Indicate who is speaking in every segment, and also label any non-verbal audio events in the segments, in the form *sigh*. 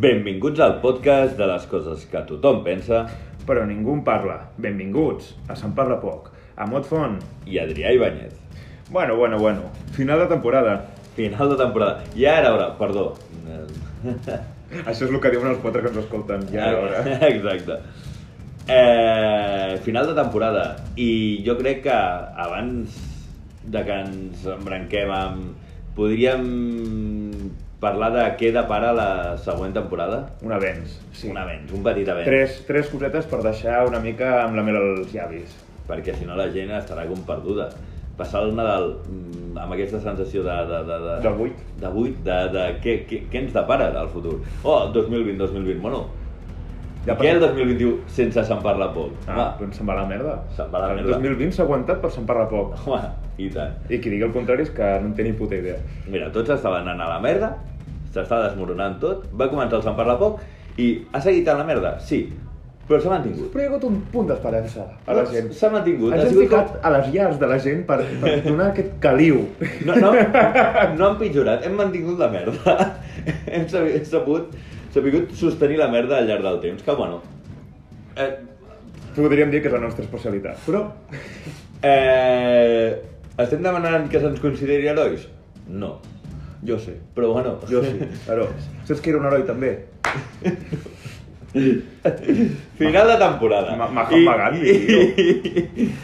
Speaker 1: Benvinguts al podcast de les coses que tothom pensa
Speaker 2: Però ningú en parla. Benvinguts, a Se'n parla poc. A Mot Font.
Speaker 1: i Adrià Ibáñez.
Speaker 2: Bueno, bueno, bueno. Final de temporada.
Speaker 1: Final de temporada. Ja era hora, perdó. Eh,
Speaker 2: Això és el que diuen els quatre que ens escolten. Ja era hora.
Speaker 1: *laughs* Exacte. Eh, final de temporada. I jo crec que abans de que ens embranquem amb... Podríem parlar de què depara la següent temporada?
Speaker 2: Un avenç. Sí.
Speaker 1: Un avenç, un petit avenç.
Speaker 2: Tres, tres cosetes per deixar una mica amb la mel als llavis.
Speaker 1: perquè si no la gent estarà com perduda. Passar el Nadal mm, amb aquesta sensació de... De, de, de,
Speaker 2: De buit.
Speaker 1: De buit, de, de què, què, què ens depara del futur. Oh, 2020, 2020, bueno.
Speaker 2: Ja
Speaker 1: Ja què el
Speaker 2: passa-
Speaker 1: 2021 sense se'n parla poc?
Speaker 2: Ah,
Speaker 1: Home,
Speaker 2: doncs se'n va la merda.
Speaker 1: Se'n va la
Speaker 2: El
Speaker 1: merda.
Speaker 2: 2020 s'ha aguantat per se'n parla poc.
Speaker 1: home, i tant.
Speaker 2: I qui digui el contrari és que no en té ni puta idea.
Speaker 1: Mira, tots estaven anant a la merda, s'està desmoronant tot, va començar el se'n parla poc i ha seguit a la merda, sí, però s'ha mantingut.
Speaker 2: Però hi ha hagut un punt d'esperança a la gent.
Speaker 1: S'ha mantingut.
Speaker 2: Ens
Speaker 1: ha
Speaker 2: hem
Speaker 1: sigut com-
Speaker 2: ficat a les llars de la gent per, per donar aquest caliu.
Speaker 1: No, no, no han pitjorat, hem mantingut la merda. *laughs* Hem sabi- hem sabut, sabut sostenir la merda al llarg del temps, que bueno... Eh,
Speaker 2: Podríem dir que és la nostra especialitat. Però
Speaker 1: eh, estem demanant que se'ns consideri herois? No. Jo sé, però bueno...
Speaker 2: Jo *laughs* sí, però saps que era un heroi també?
Speaker 1: Final de temporada.
Speaker 2: Ma- Mahatma
Speaker 1: I-
Speaker 2: Gandhi,
Speaker 1: I,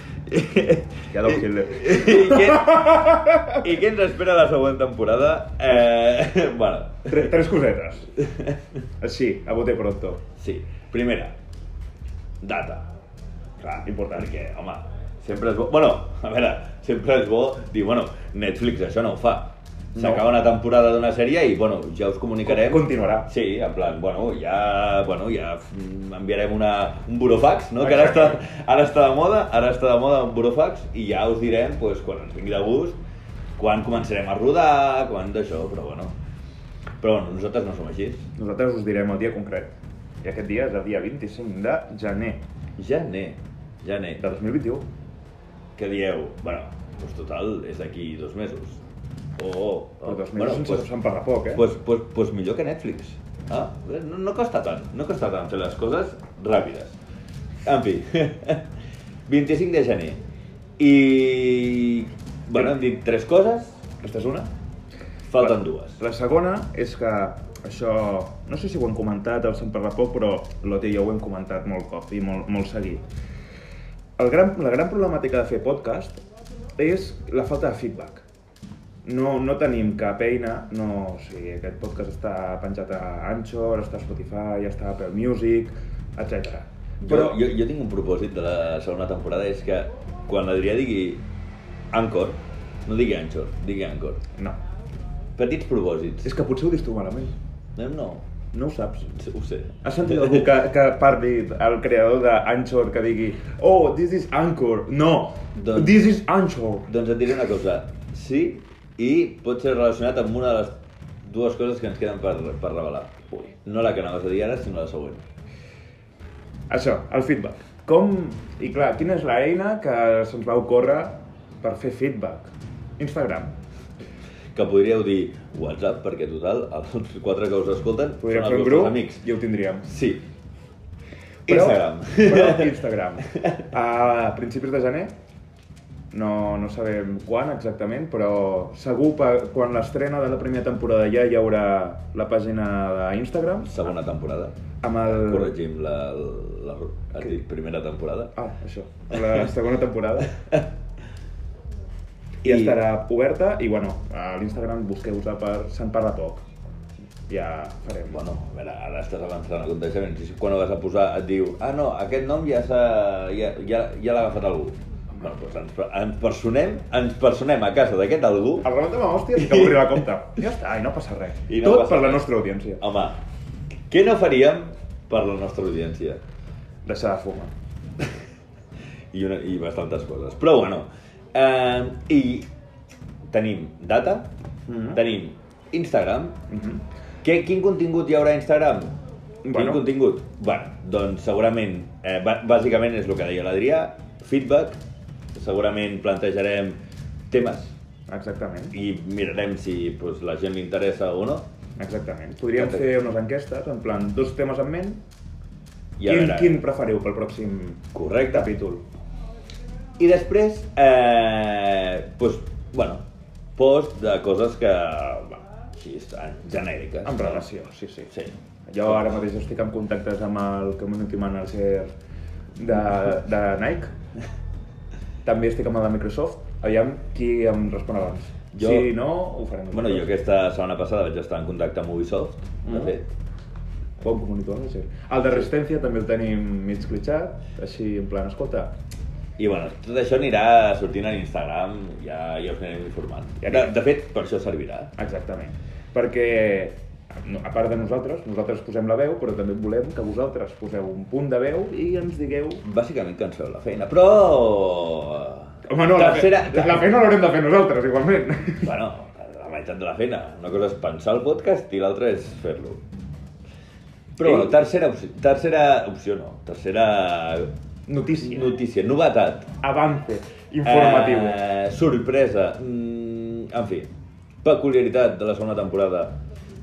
Speaker 2: Ja deu Hitler.
Speaker 1: *laughs* i, què, I què ens espera la següent temporada? Eh, *laughs* bueno,
Speaker 2: Tres, tres cosetes. Així, a bote pronto.
Speaker 1: Sí, primera, data. Clar, important, perquè, home, sempre és bo... Bueno, a veure, sempre és bo dir, bueno, Netflix això no ho fa. S'acaba
Speaker 2: No.
Speaker 1: una temporada d'una sèrie i, bueno, ja us comunicarem...
Speaker 2: Continuarà.
Speaker 1: Sí, en plan, bueno, ja, bueno, ja mm, enviarem una, un burofax, no? Que ara està,
Speaker 2: Exacte.
Speaker 1: ara està de moda, ara està de moda un burofax i ja us direm, pues, quan ens vingui de gust, quan començarem a rodar, quan d'això, però bueno... Però bueno, nosaltres no som així.
Speaker 2: Nosaltres us direm el dia concret. I aquest dia és el dia 25 de gener
Speaker 1: Ja n'he, ja n'he.
Speaker 2: de 2021.
Speaker 1: que dieu, bueno, doncs total, és d'aquí dos mesos. O, o, doncs
Speaker 2: Però 2021 bueno, pues, se'n parla poc, eh?
Speaker 1: pues, pues, pues millor que Netflix. Ah, no, no costa tant, no costa tant fer les coses ràpides. En fi, *laughs* 25 de gener. I... Bueno, hem dit tres coses,
Speaker 2: Aquesta és una.
Speaker 1: falten
Speaker 2: La-
Speaker 1: dues.
Speaker 2: La segona és que això, no sé si ho hem comentat al Se'n parla poc, però l'Ote i jo ho hem comentat molt cop i molt, molt seguit. El gran, la gran problemàtica de fer podcast és la falta de feedback. No, no tenim cap eina, no, o sigui, aquest podcast està penjat a Anchor, està a Spotify, està a Apple Music, etc.
Speaker 1: Però... Jo, jo, jo tinc un propòsit de la segona temporada, és que quan l'Adrià digui Anchor, no digui Anchor, digui Anchor.
Speaker 2: No.
Speaker 1: Petits propòsits.
Speaker 2: És que potser ho dius tu malament.
Speaker 1: No, no,
Speaker 2: No ho saps.
Speaker 1: ho sé.
Speaker 2: Has sentit algú que, que parli el creador d'Anchor que digui Oh, this is Anchor. No,
Speaker 1: Doncs-
Speaker 2: this is Anchor.
Speaker 1: Doncs et diré una cosa, sí, i pot ser relacionat amb una de les dues coses que ens queden per, per revelar. Ui. No la que anaves a dir ara, sinó la següent.
Speaker 2: Això, el feedback. Com, i clar, quina és l'eina que se'ns va ocórrer per fer feedback? Instagram.
Speaker 1: Que podríeu dir WhatsApp, perquè total, els quatre que us escolten
Speaker 2: Podríem
Speaker 1: són
Speaker 2: fer
Speaker 1: els
Speaker 2: un grup
Speaker 1: amics.
Speaker 2: i ho tindríem.
Speaker 1: Sí. Instagram.
Speaker 2: Però, *laughs* però Instagram. A principis de gener, no, no sabem quan exactament, però segur per, quan l'estrena de la primera temporada ja hi haurà la pàgina d'Instagram
Speaker 1: *laughs* Segona temporada.
Speaker 2: amb el...
Speaker 1: Corregim la, la, la et dic, primera temporada.
Speaker 2: Ah, això, la segona temporada. I,
Speaker 1: I-
Speaker 2: ja estarà oberta i, bueno, a l'Instagram busqueu-la per Se'n parla poc. Ja farem. Bueno.
Speaker 1: Bueno, a veure, ara estàs avançant el coneixement. Si quan ho vas a posar et diu, ah no, aquest nom ja s'ha... ja, ja, ja l'ha agafat algú. Bueno, doncs ens, ens personem, ens personem a casa d'aquest algú
Speaker 2: El rementem a hòsties i que obrir la compte. Ja està, i no passa res.
Speaker 1: I no
Speaker 2: Tot
Speaker 1: passa
Speaker 2: per la
Speaker 1: res.
Speaker 2: nostra audiència.
Speaker 1: Home, què no faríem per la nostra audiència?
Speaker 2: Deixar de fumar.
Speaker 1: I, una, i bastantes coses. Però bueno, eh, i tenim data,
Speaker 2: Mhm.
Speaker 1: tenim Instagram.
Speaker 2: Mhm.
Speaker 1: Què, quin contingut hi haurà a Instagram? Quin
Speaker 2: Bueno.
Speaker 1: contingut? Bueno, doncs segurament, eh, bà- bàsicament és el que deia l'Adrià, feedback, segurament plantejarem temes
Speaker 2: Exactament.
Speaker 1: i mirarem si pues, la gent li interessa o no.
Speaker 2: Exactament. Podríem
Speaker 1: Exacte.
Speaker 2: fer unes enquestes, en plan, dos temes en ment,
Speaker 1: I a
Speaker 2: quin,
Speaker 1: veure-
Speaker 2: quin preferiu pel pròxim
Speaker 1: Correcte.
Speaker 2: capítol?
Speaker 1: I després, eh, doncs, bueno, post de coses que, bueno, així, genèriques.
Speaker 2: En relació, sí, sí.
Speaker 1: Sí.
Speaker 2: Jo ara mateix estic en contactes amb el community manager de, de Nike. També estic amb el de Microsoft. Aviam qui em respon abans.
Speaker 1: Jo-
Speaker 2: Si no, ho farem.
Speaker 1: Bueno, jo aquesta setmana passada vaig estar en contacte amb Ubisoft, de
Speaker 2: Mhm.
Speaker 1: fet.
Speaker 2: Bon community manager. El de Resistència també el tenim mig clitxat, així en plan, escolta,
Speaker 1: I bueno, tot això anirà sortint a l'Instagram, ja, ja us anirem informant.
Speaker 2: Ja
Speaker 1: De,
Speaker 2: anirem.
Speaker 1: de fet, per això servirà.
Speaker 2: Exactament. Perquè, no, a part de nosaltres, nosaltres posem la veu, però també volem que vosaltres poseu un punt de veu i ens digueu...
Speaker 1: Bàsicament que ens feu la feina, però...
Speaker 2: Home, no,
Speaker 1: Tercera...
Speaker 2: la, fe, la feina l'haurem de fer nosaltres, igualment.
Speaker 1: Bueno, la meitat de la feina. Una cosa és pensar el podcast i l'altra és fer-lo. Però
Speaker 2: Sí.
Speaker 1: bueno, tercera opció, tercera opció no, tercera
Speaker 2: Notícia.
Speaker 1: notícia, novetat.
Speaker 2: Avance informatiu. Eh...
Speaker 1: Eh, sorpresa. Mm, en fi, peculiaritat de la segona temporada.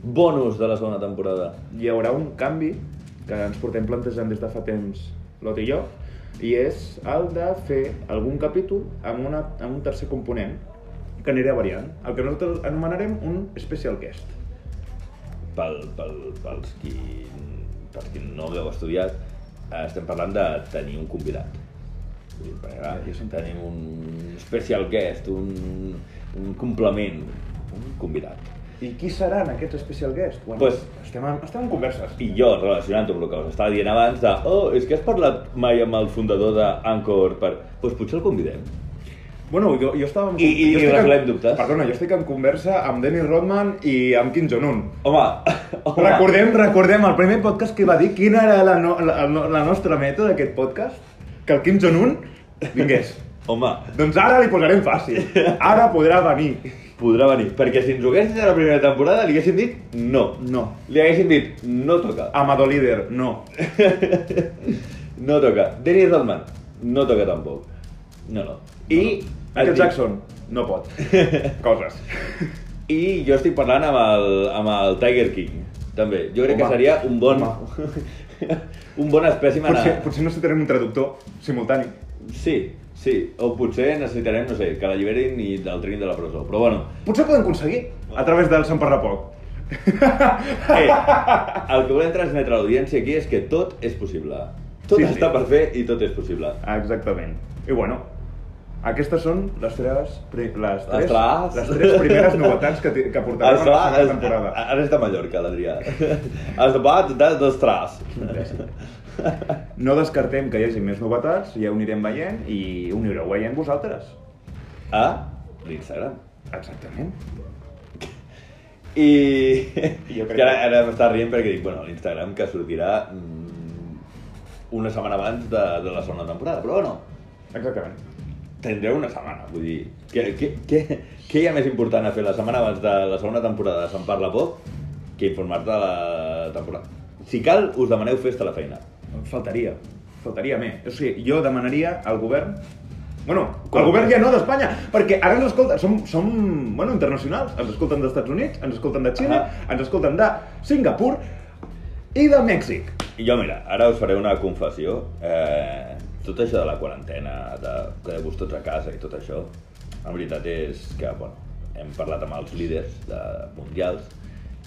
Speaker 1: Bonus de la segona temporada.
Speaker 2: Hi haurà un canvi que ens portem plantejant des de fa temps, Lot i jo, i és el de fer algun capítol amb, una, amb un tercer component que anirà variant, el que nosaltres anomenarem un special guest.
Speaker 1: Pel, pel, pels, qui, pels qui no ho heu estudiat, eh, estem parlant de tenir un convidat. Vull dir, perquè, clar,
Speaker 2: Ja, ja s'entén.
Speaker 1: Tenim un special guest, un, un complement, un convidat.
Speaker 2: I qui seran aquests special guest? Bueno,
Speaker 1: Pues-
Speaker 2: estem, en, estem en converses.
Speaker 1: I jo, relacionant-ho amb el que us estava dient abans, de, oh, és que has parlat mai amb el fundador d'Anchor per... Doncs pues potser el convidem.
Speaker 2: Bueno, jo, jo estava... en-
Speaker 1: I- i-
Speaker 2: jo
Speaker 1: i
Speaker 2: estic en-
Speaker 1: resolem dubtes.
Speaker 2: Perdona, jo estic en conversa amb Dennis Rodman i amb Kim Jong-un.
Speaker 1: Home, *laughs* home.
Speaker 2: Recordem, recordem el primer podcast que va dir quina era la, no, la, la- la nostra meta d'aquest podcast, que el Kim Jong-un
Speaker 1: *laughs*
Speaker 2: vingués.
Speaker 1: Home,
Speaker 2: doncs ara li posarem fàcil. Ara podrà venir.
Speaker 1: podrà venir. Perquè si ens ho haguessin a la primera temporada, li haguessin dit no.
Speaker 2: No.
Speaker 1: Li haguessin dit, no toca.
Speaker 2: Amado líder, no.
Speaker 1: No toca. Dennis Rodman, no toca tampoc. No, no. I...
Speaker 2: Michael
Speaker 1: et dic-
Speaker 2: Jackson, no pot.
Speaker 1: *laughs*
Speaker 2: Coses.
Speaker 1: I jo estic parlant amb el, amb el Tiger King, també. Jo crec
Speaker 2: Home.
Speaker 1: que seria un bon...
Speaker 2: Home.
Speaker 1: *laughs* un bon espècimen a-
Speaker 2: Potser, potser necessitarem un traductor simultani.
Speaker 1: Sí, sí. O potser necessitarem, no sé, que l'alliberin i el treguin de la presó. Però bueno,
Speaker 2: Potser podem aconseguir a través del Sant Parrapoc.
Speaker 1: eh, el que volem transmetre a l'audiència aquí és que tot és possible. Tot
Speaker 2: Sí,
Speaker 1: sí,
Speaker 2: sí.
Speaker 1: està per fer i tot és possible.
Speaker 2: Exactament. I bueno, aquestes són les tres, pri- les
Speaker 1: Les
Speaker 2: tres,
Speaker 1: tres.
Speaker 2: les tres primeres novetats que,
Speaker 1: *laughs*
Speaker 2: ti- que portarem
Speaker 1: Has
Speaker 2: a la
Speaker 1: de,
Speaker 2: segona
Speaker 1: has,
Speaker 2: temporada.
Speaker 1: *laughs* ara és de Mallorca, l'Adrià. *laughs* Has de bat de destras.
Speaker 2: No descartem que hi hagi més novetats, ja ho anirem veient i ho anireu veient vosaltres.
Speaker 1: A l'Instagram.
Speaker 2: Exactament.
Speaker 1: I, *laughs*
Speaker 2: Jo crec
Speaker 1: que ara,
Speaker 2: que-
Speaker 1: ara m'està rient perquè dic, bueno, l'Instagram que sortirà mm, una setmana abans de, de la segona temporada, però bueno,
Speaker 2: Exactament.
Speaker 1: Tindreu una setmana, vull dir, què, què, què, què hi ha més important a fer la setmana abans de la segona temporada de Se'n parla poc que informar-te de la temporada? Si cal, us demaneu festa a la feina.
Speaker 2: Faltaria. Faltaria més. O sigui, jo demanaria al govern Bueno, el
Speaker 1: Com?
Speaker 2: govern ja no d'Espanya, perquè ara ens escolta, som, som bueno, internacionals, ens escolten dels Estats Units, ens escolten de Xile,
Speaker 1: Ahà.
Speaker 2: ens escolten de Singapur i de Mèxic.
Speaker 1: I jo, mira, ara us faré una confessió. Eh, tot això de la quarantena, de quedar-vos tots a casa i tot això, la veritat és que, bueno, hem parlat amb els líders de, mundials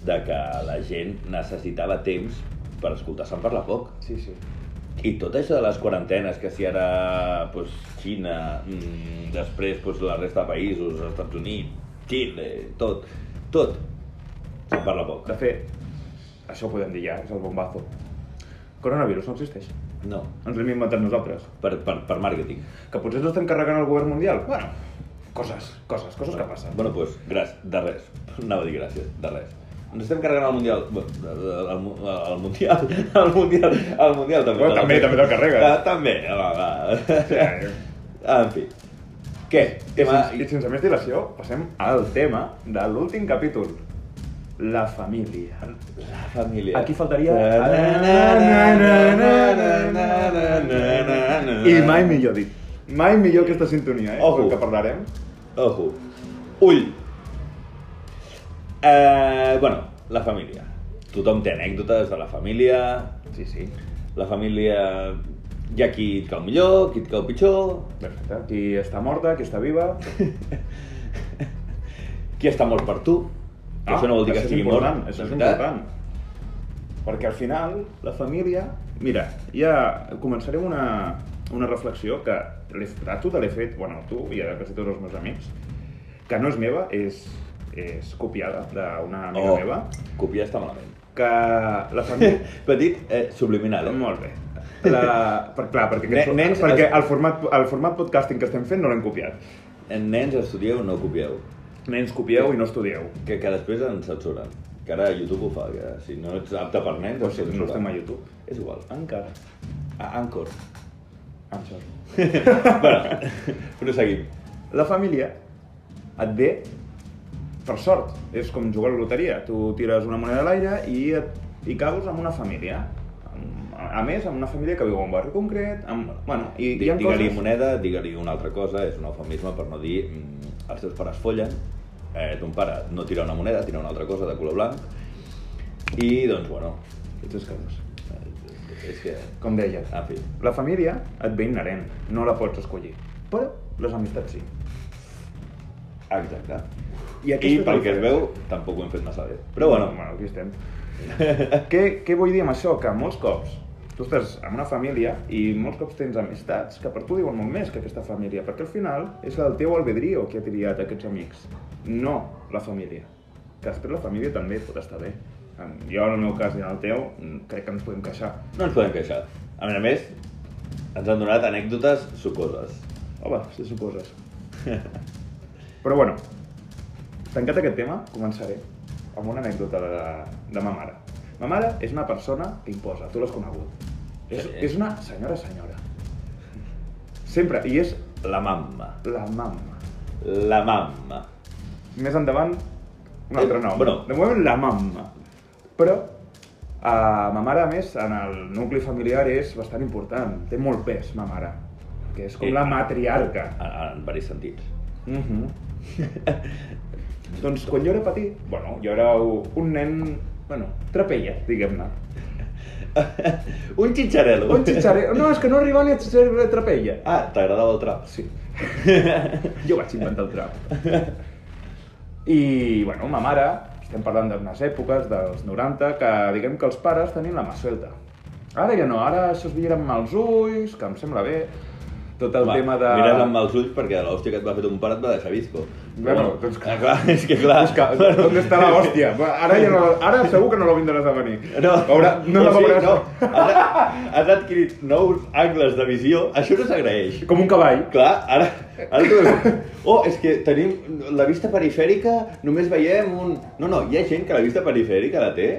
Speaker 1: de que la gent necessitava temps per escoltar Se'n parla poc.
Speaker 2: Sí, sí.
Speaker 1: I tot això de les quarantenes, que si ara pues, Xina, mm, després pues, la resta de països, els Estats Units, Xile, tot, tot, se'n parla poc.
Speaker 2: De fet, això ho podem dir ja, és el bombazo. Coronavirus no existeix.
Speaker 1: No,
Speaker 2: Ens l'hem inventat nosaltres.
Speaker 1: per, per, per màrqueting.
Speaker 2: Que potser ens estem carregant el govern mundial. Bueno, coses, coses, coses que passen.
Speaker 1: Bueno, doncs, gràcies, de res. *laughs* Anava a dir gràcies, de res. Ens estem carregant el Mundial... Bé, El, mu- el Mundial... *laughs* El Mundial... El Mundial també.
Speaker 2: Bueno, també- també te'l carregues.
Speaker 1: Ah, també, va, va. *laughs* En fi. Què?
Speaker 2: I,
Speaker 1: Eh, Tema...
Speaker 2: sense, I sense més dilació, passem al tema de l'últim capítol. La família.
Speaker 1: La família.
Speaker 2: Aquí faltaria- I mai millor dit. Mai millor aquesta sintonia, eh?
Speaker 1: Ojo.
Speaker 2: del Que parlarem.
Speaker 1: Ojo. Ull. Eh, bueno, la família. Tothom té anècdotes de la família,
Speaker 2: Sí, sí.
Speaker 1: la família... Hi ha qui et cau millor, qui et cau pitjor,
Speaker 2: Perfecte. Qui està morta, qui està viva...
Speaker 1: qui està mort per tu. Que això no vol dir que
Speaker 2: Ah, això és
Speaker 1: estigui mort.
Speaker 2: important, Això
Speaker 1: de
Speaker 2: és
Speaker 1: veritat.
Speaker 2: important. Perquè al final, la família... Mira, ja començaré amb una, una reflexió que l'he a tu te l'he fet, bueno, a tu i a quasi tots els meus amics, que no és meva, és, és copiada d'una amiga
Speaker 1: Oh,
Speaker 2: meva,
Speaker 1: copiar està malament. *laughs*
Speaker 2: que la família...
Speaker 1: Petit, eh, subliminal, eh?
Speaker 2: Molt bé. La... Per, clar, perquè, aquest,
Speaker 1: Nens-
Speaker 2: perquè el, format, el format podcasting que estem fent no l'hem copiat.
Speaker 1: En nens estudieu, no copieu.
Speaker 2: Nens, copieu i no estudieu.
Speaker 1: Que, que després ens censuren. Que ara YouTube ho fa, que si no ets apte per nens...
Speaker 2: Però si
Speaker 1: et
Speaker 2: no
Speaker 1: censuren.
Speaker 2: estem a YouTube.
Speaker 1: És igual.
Speaker 2: Encara.
Speaker 1: A Anchor.
Speaker 2: Amb sort.
Speaker 1: bueno, proseguim.
Speaker 2: La família et ve per sort. És com jugar a la loteria. Tu tires una moneda a l'aire i, et, i caus amb una família. Amb- A a més, amb una família que viu en un barri concret, amb... Bueno, i, i hi ha
Speaker 1: Digue-li
Speaker 2: coses...
Speaker 1: moneda, digue-li una altra cosa, és un eufemisme per no dir mm, els teus pares follen, eh, ton pare no tira una moneda, tira una altra cosa de color blanc, i doncs, bueno,
Speaker 2: Ets escalós.
Speaker 1: eh, és que...
Speaker 2: Com deies.
Speaker 1: En fi,
Speaker 2: La família et ve inherent, no la pots escollir. Però les amistats sí.
Speaker 1: exacte.
Speaker 2: I,
Speaker 1: I
Speaker 2: aquesta és la
Speaker 1: pel que es
Speaker 2: diferència.
Speaker 1: veu, tampoc ho hem fet massa bé. Però bueno,
Speaker 2: bueno aquí estem. què, què vull dir amb això? Que molts cops tu estàs amb una família i molts cops tens amistats que per tu diuen molt més que aquesta família, perquè al final és el teu albedrío que ha triat aquests amics, no la família. Que després la família també pot estar bé. En- Jo, en el meu cas i en el teu, mm, crec que ens podem queixar.
Speaker 1: no ens podem queixar. A més a més, ens han donat anècdotes sucoses.
Speaker 2: Home, si suposes. Però bueno, tancat aquest tema, començaré amb una anècdota de, de ma mare. Ma mare és una persona que imposa, tu l'has conegut. És,
Speaker 1: Sí.
Speaker 2: és una senyora senyora. Sempre, i és
Speaker 1: La mamma.
Speaker 2: la mamma.
Speaker 1: La mamma.
Speaker 2: Més endavant, un altre
Speaker 1: Eh,
Speaker 2: nom.
Speaker 1: bueno.
Speaker 2: De moment, la mamma. Però a ma mare, a més, en el nucli familiar és bastant important. Té molt pes, ma mare. Que és com
Speaker 1: Eh.
Speaker 2: la matriarca.
Speaker 1: En, en diversos sentits.
Speaker 2: *laughs* Mhm. doncs quan jo era petit, bueno, jo era un nen, bueno, trapella, diguem-ne.
Speaker 1: Un xitxarel·lo.
Speaker 2: Un xitxare... No, és que no arribava ni a xitxare trapella.
Speaker 1: Ah, t'agradava el trap.
Speaker 2: Sí. *laughs* jo vaig inventar el trap. I, bueno, ma mare, estem parlant d'unes èpoques, dels 90, que diguem que els pares tenien la mà suelta. Ara ja no, ara això es veien amb els ulls, que em sembla bé. Tot el
Speaker 1: Home,
Speaker 2: tema de...
Speaker 1: Mira't amb els ulls perquè de l'hòstia que et va fer ton pare et va deixar visco.
Speaker 2: Bueno,
Speaker 1: Però,
Speaker 2: doncs-
Speaker 1: ah, clar, és que clar...
Speaker 2: Busca, on està la hòstia? Ara, ja no, ara segur que no la vindràs a venir.
Speaker 1: No,
Speaker 2: Haurà, no, la
Speaker 1: sí,
Speaker 2: veuràs.
Speaker 1: no. Has, has adquirit nous angles de visió, això no s'agraeix.
Speaker 2: Com un cavall.
Speaker 1: Clar, ara... ara tu... Oh, és que tenim la vista perifèrica, només veiem un... No, no, hi ha gent que la vista perifèrica la té.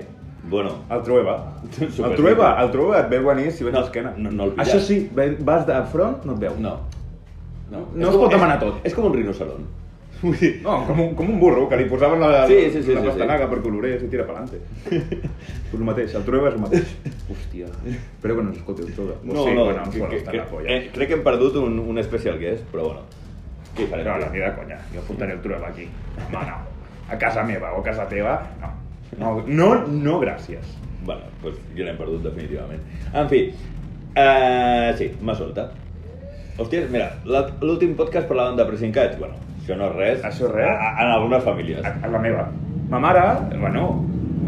Speaker 1: Bueno,
Speaker 2: El Trueba.
Speaker 1: Super
Speaker 2: el Trueba, el Trueba et veu venir si vens
Speaker 1: No,
Speaker 2: a esquena.
Speaker 1: no- no el pilles.
Speaker 2: Això sí, ve- vas de front, no et veu.
Speaker 1: no. No,
Speaker 2: No
Speaker 1: És
Speaker 2: es
Speaker 1: com-
Speaker 2: pot
Speaker 1: és-
Speaker 2: demanar tot.
Speaker 1: És com un rinoceron. Vull dir,
Speaker 2: No, com un, com un burro, que li posaven la,
Speaker 1: Sí, sí, sí,
Speaker 2: la
Speaker 1: sí,
Speaker 2: pastanaga per colorés i tira pelante. Pues el mateix, el Trueba és
Speaker 1: *laughs*
Speaker 2: el mateix. Hòstia, espero que no s'escolti el Trueba. O sí, bueno, em sona, està la polla.
Speaker 1: eh, crec que hem perdut un, un especial que és, però bueno. Què hi farem?
Speaker 2: No, no, ni de conya. Jo fotré el trueba aquí. Home, no. A casa meva o a casa teva, no. No, no, no gràcies.
Speaker 1: Bueno, doncs jo l'hem perdut definitivament. En fi, uh, sí, m'ha solta. Hòstia, mira, la- l'últim podcast parlàvem de presincats. Bueno, això no és res.
Speaker 2: Això és res.
Speaker 1: A, a- en algunes famílies.
Speaker 2: A, a la meva. Ma mare, bueno,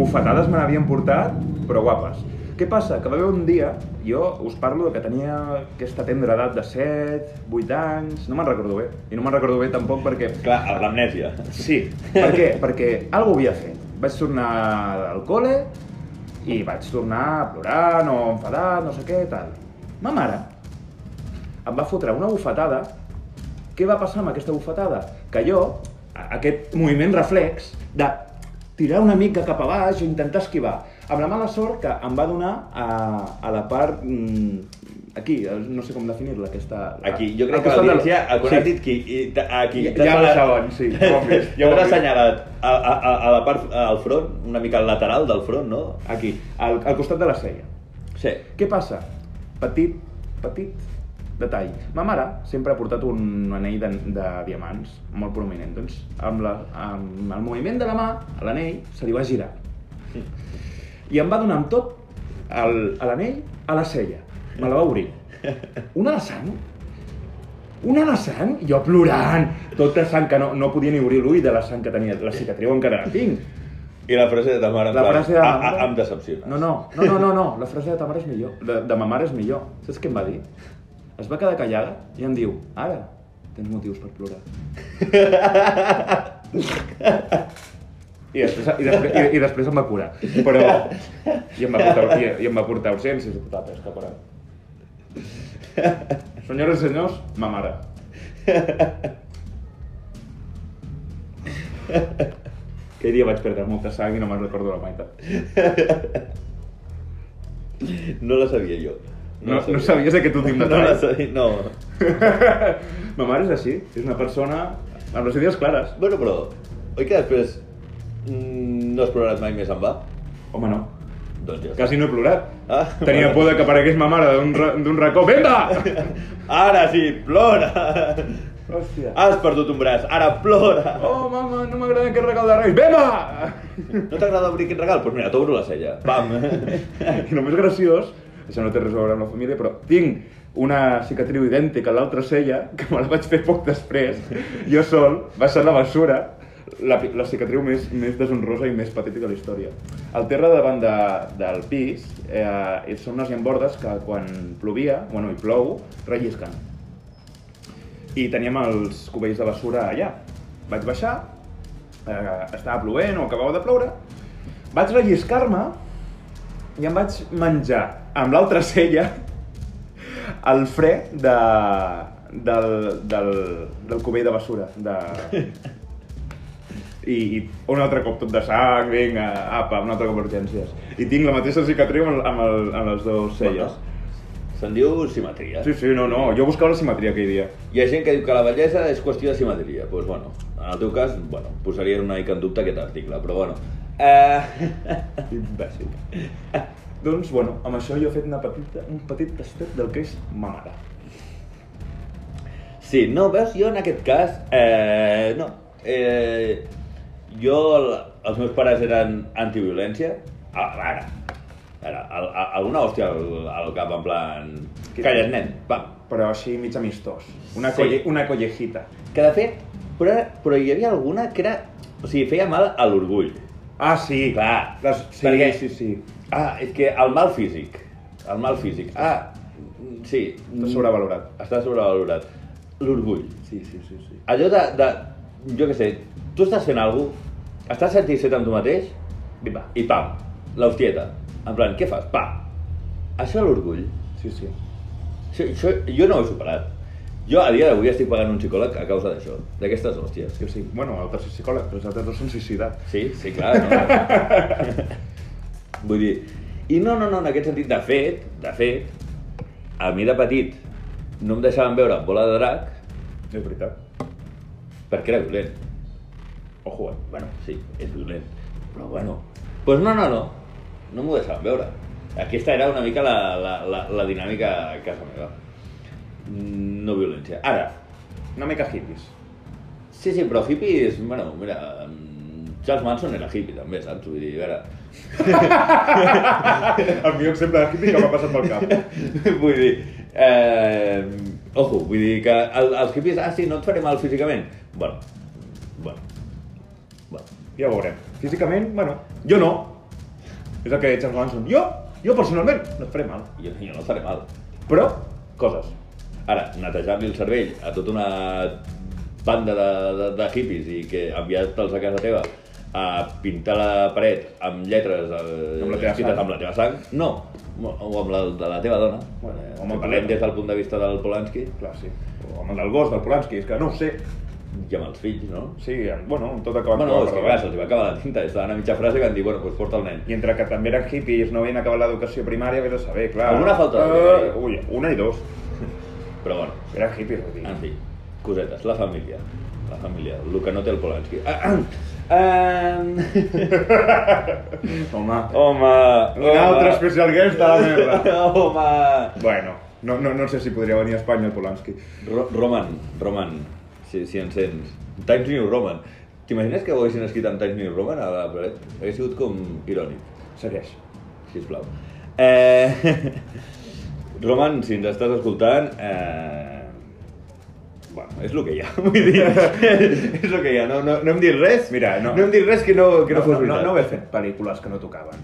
Speaker 2: bufetades me n'havien portat, però guapes. Què passa? Que va haver un dia, jo us parlo de que tenia aquesta tendra edat de 7, 8 anys, no me'n recordo bé. I no me'n recordo bé tampoc perquè
Speaker 1: Clar, amb l'amnèsia.
Speaker 2: Sí, per què? Perquè algo havia fet. Vaig tornar al col·le i vaig tornar plorant o enfadat, no sé què, tal. Ma mare em va fotre una bufetada. Què va passar amb aquesta bufetada? Que jo, a- aquest moviment reflex de tirar una mica cap a baix o intentar esquivar, amb la mala sort que em va donar a, a la part... mm, aquí, no sé com definir-la, aquesta...
Speaker 1: Aquí, jo crec que
Speaker 2: aquesta del-
Speaker 1: l'audiència, quan
Speaker 2: Sí.
Speaker 1: has dit qui, i, t- a qui...
Speaker 2: Ja- ja ho saben,
Speaker 1: *laughs*
Speaker 2: sí, ja ho han vist, ja
Speaker 1: Ja
Speaker 2: ho han
Speaker 1: ho
Speaker 2: vist.
Speaker 1: assenyalat a, a, a, a la part, al front, una mica al lateral del front, no?
Speaker 2: Aquí, al, al costat de la cella.
Speaker 1: Sí.
Speaker 2: Què passa? Petit, petit detall. Ma mare sempre ha portat un anell de, de diamants molt prominent. Doncs amb, la, amb el moviment de la mà, l'anell se li va girar. I em va donar amb tot el, a l'anell a la cella. Me la va obrir. Una de sang? Una de sang? Jo plorant, tot de sang, que no, no podia ni obrir l'ull de la sang que tenia. La cicatriu encara la tinc.
Speaker 1: I la frase de ta mare, en
Speaker 2: La
Speaker 1: plan,
Speaker 2: frase de
Speaker 1: "Ah,
Speaker 2: ma mare".
Speaker 1: ah, em decepciones.
Speaker 2: No, no, no, no, no, no. la frase de ta mare és millor, de, de ma mare és millor. Saps què em va dir? Es va quedar callada i em diu, ara, tens motius per plorar. I després, i, després, i, i després em va curar. Però... I em va portar, i, i em va portar a urgències i tota la pesca, però... Senyores i senyors, ma mare. Aquell dia vaig perdre molta sang i no me'n recordo la meitat. *laughs*
Speaker 1: No la sabia jo.
Speaker 2: No,
Speaker 1: la
Speaker 2: no sabies aquest últim
Speaker 1: *laughs* No
Speaker 2: detall?
Speaker 1: la sabia, no.
Speaker 2: Ma mare és així, és una persona amb les idees clares.
Speaker 1: Bueno, però, oi que després mm, no has ploraràs mai més en va?
Speaker 2: Home, no.
Speaker 1: Doncs ja està.
Speaker 2: Quasi no he plorat.
Speaker 1: Ah,
Speaker 2: Tenia por de que aparegués ma mare d'un ra- d'un racó. Vinga!
Speaker 1: Ara sí, plora!
Speaker 2: Hòstia.
Speaker 1: Has perdut un braç, ara plora!
Speaker 2: Oh, mama, no m'agrada aquest regal de Reis. Vinga!
Speaker 1: No t'agrada obrir aquest regal? Doncs pues mira, t'obro la cella.
Speaker 2: *laughs*
Speaker 1: Pam!
Speaker 2: I el més graciós, això no té res a veure amb la família, però tinc una cicatriu idèntica a l'altra cella, que me la vaig fer poc després, jo sol, baixant la bessura, la, pi- la cicatriu més, més deshonrosa i més patètica de la història. Al terra davant de, del pis eh, són unes llambordes que quan plovia, bueno, i plou, rellisquen. I teníem els cubells de bessura allà. Vaig baixar, eh, estava plovent o acabava de ploure, vaig relliscar-me i em vaig menjar amb l'altra cella el fre de, del, del, del cubell de bessura. De... I, I un altre cop tot de sang, vinga, apa, un altre cop urgències. I tinc la mateixa cicatriu amb, el- amb, el, amb les dues celles.
Speaker 1: eh. Se'n diu simetria.
Speaker 2: Sí, sí, no, no, jo buscava la simetria aquell dia.
Speaker 1: Hi ha gent que diu que la bellesa és qüestió de simetria. Doncs pues bueno, en el teu cas, bueno, posaria una mica en dubte aquest article, però bueno. Eh... *laughs*
Speaker 2: Imbècil. *laughs* doncs, bueno, amb això jo he fet una petita, un petit tastet del que és ma mare.
Speaker 1: Sí, no, veus, jo en aquest cas, eh, no. Eh, jo, el, els meus pares eren antiviolència, a ara, ara, al- a- alguna hòstia al, al cap, en plan,
Speaker 2: Qui-
Speaker 1: calles, nen, pam.
Speaker 2: Però així mig amistós. Una,
Speaker 1: Sí.
Speaker 2: colle, una collejita.
Speaker 1: Que de fet, però, però hi havia alguna que era, o sigui, feia mal a l'orgull.
Speaker 2: Ah, sí,
Speaker 1: Clar,
Speaker 2: Les, sí,
Speaker 1: perquè-
Speaker 2: sí, sí.
Speaker 1: Ah, és que el mal físic, el mal físic, ah, mm, sí.
Speaker 2: Està sobrevalorat.
Speaker 1: Està sobrevalorat. L'orgull.
Speaker 2: Sí, sí, sí, sí.
Speaker 1: Allò de, de jo què sé, tu estàs fent alguna cosa, estàs satisfet amb tu mateix,
Speaker 2: Viva.
Speaker 1: i pam, l'hostieta. En plan, què fas? Pa. Això és l'orgull.
Speaker 2: Sí, sí.
Speaker 1: Això, això, jo no ho he superat. Jo a dia d'avui estic pagant un psicòleg a causa d'això, d'aquestes hòsties.
Speaker 2: Jo sí. Bueno, el tercer psicòleg, però els altres dos s'han suïcidat.
Speaker 1: Sí, sí, clar. No? *laughs* Vull dir, i no, no, no, en aquest sentit, de fet, de fet, a mi de petit no em deixaven veure bola de drac
Speaker 2: És veritat.
Speaker 1: perquè era violent.
Speaker 2: Ojo, eh?
Speaker 1: Bueno, sí, és violent, però bueno. Doncs pues no, no, no, no m'ho deixaven veure. Aquesta era una mica la, la, la, la dinàmica a casa meva. Mm, No violència. Ara,
Speaker 2: Una mica hippies.
Speaker 1: sí, sí, però hippies, bueno, mira, mm, Charles Manson era hippie també, saps? Vull dir, a veure,
Speaker 2: *laughs* El millor exemple de hippie que m'ha passat pel
Speaker 1: *laughs*
Speaker 2: cap.
Speaker 1: vull dir, eh, ojo, vull dir que el, els hippies, ah sí, no et faré mal físicament. Bueno, bueno, bueno.
Speaker 2: Ja ho veurem. Físicament, bueno, jo no. És el que deia Charles Manson. Jo, jo personalment, no et faré mal.
Speaker 1: Jo, jo no et faré mal.
Speaker 2: Però, coses.
Speaker 1: Ara, netejar-li el cervell a tota una banda de, de, de hippies i que enviar-te'ls a casa teva a pintar la paret amb lletres eh,
Speaker 2: Amb la teva
Speaker 1: escrites
Speaker 2: sang.
Speaker 1: amb la teva sang, no, o amb la de la teva dona.
Speaker 2: Bueno,
Speaker 1: Eh, si
Speaker 2: home, però-
Speaker 1: parlem des del punt de vista del Polanski
Speaker 2: Clar, sí. O amb el del gos, del Polanski, és que no ho sé.
Speaker 1: i amb els fills, no?
Speaker 2: Sí, bueno, amb tot acabat.
Speaker 1: Bueno, és que clar, se'ls va acabar la tinta, estava una mitja frase que van dir, bueno, doncs porta el nen.
Speaker 2: I entre que també eren hippies, no havien acabat l'educació primària, vés a saber, clar.
Speaker 1: Alguna falta de
Speaker 2: Eh,
Speaker 1: criterio.
Speaker 2: ui, una i dos.
Speaker 1: Però bueno,
Speaker 2: Eren hippies, vull dir.
Speaker 1: en fi, cosetes, la família, la família, el que no té el Polanski. Ah, ah, ah,
Speaker 2: Home,
Speaker 1: home,
Speaker 2: un altre especial guest de la merda.
Speaker 1: Home!
Speaker 2: bueno, no, no, no sé si podria venir a Espanya el Polanski.
Speaker 1: Ro Roman, Roman, si, si ens sents. Times New Roman. T'imagines que ho haguessin escrit amb Times New Roman a la paret? Hauria sigut com irònic,
Speaker 2: Segueix.
Speaker 1: sisplau. Eh... *laughs* Roman, si ens estàs escoltant, eh... Bueno, és el que hi ha, *laughs* vull dir, és el que hi ha, no, no, no hem dit res,
Speaker 2: Mira, no-
Speaker 1: no hem dit res que no, que no,
Speaker 2: no,
Speaker 1: fos
Speaker 2: no,
Speaker 1: veritat.
Speaker 2: no haver fet pel·lícules que no tocaven.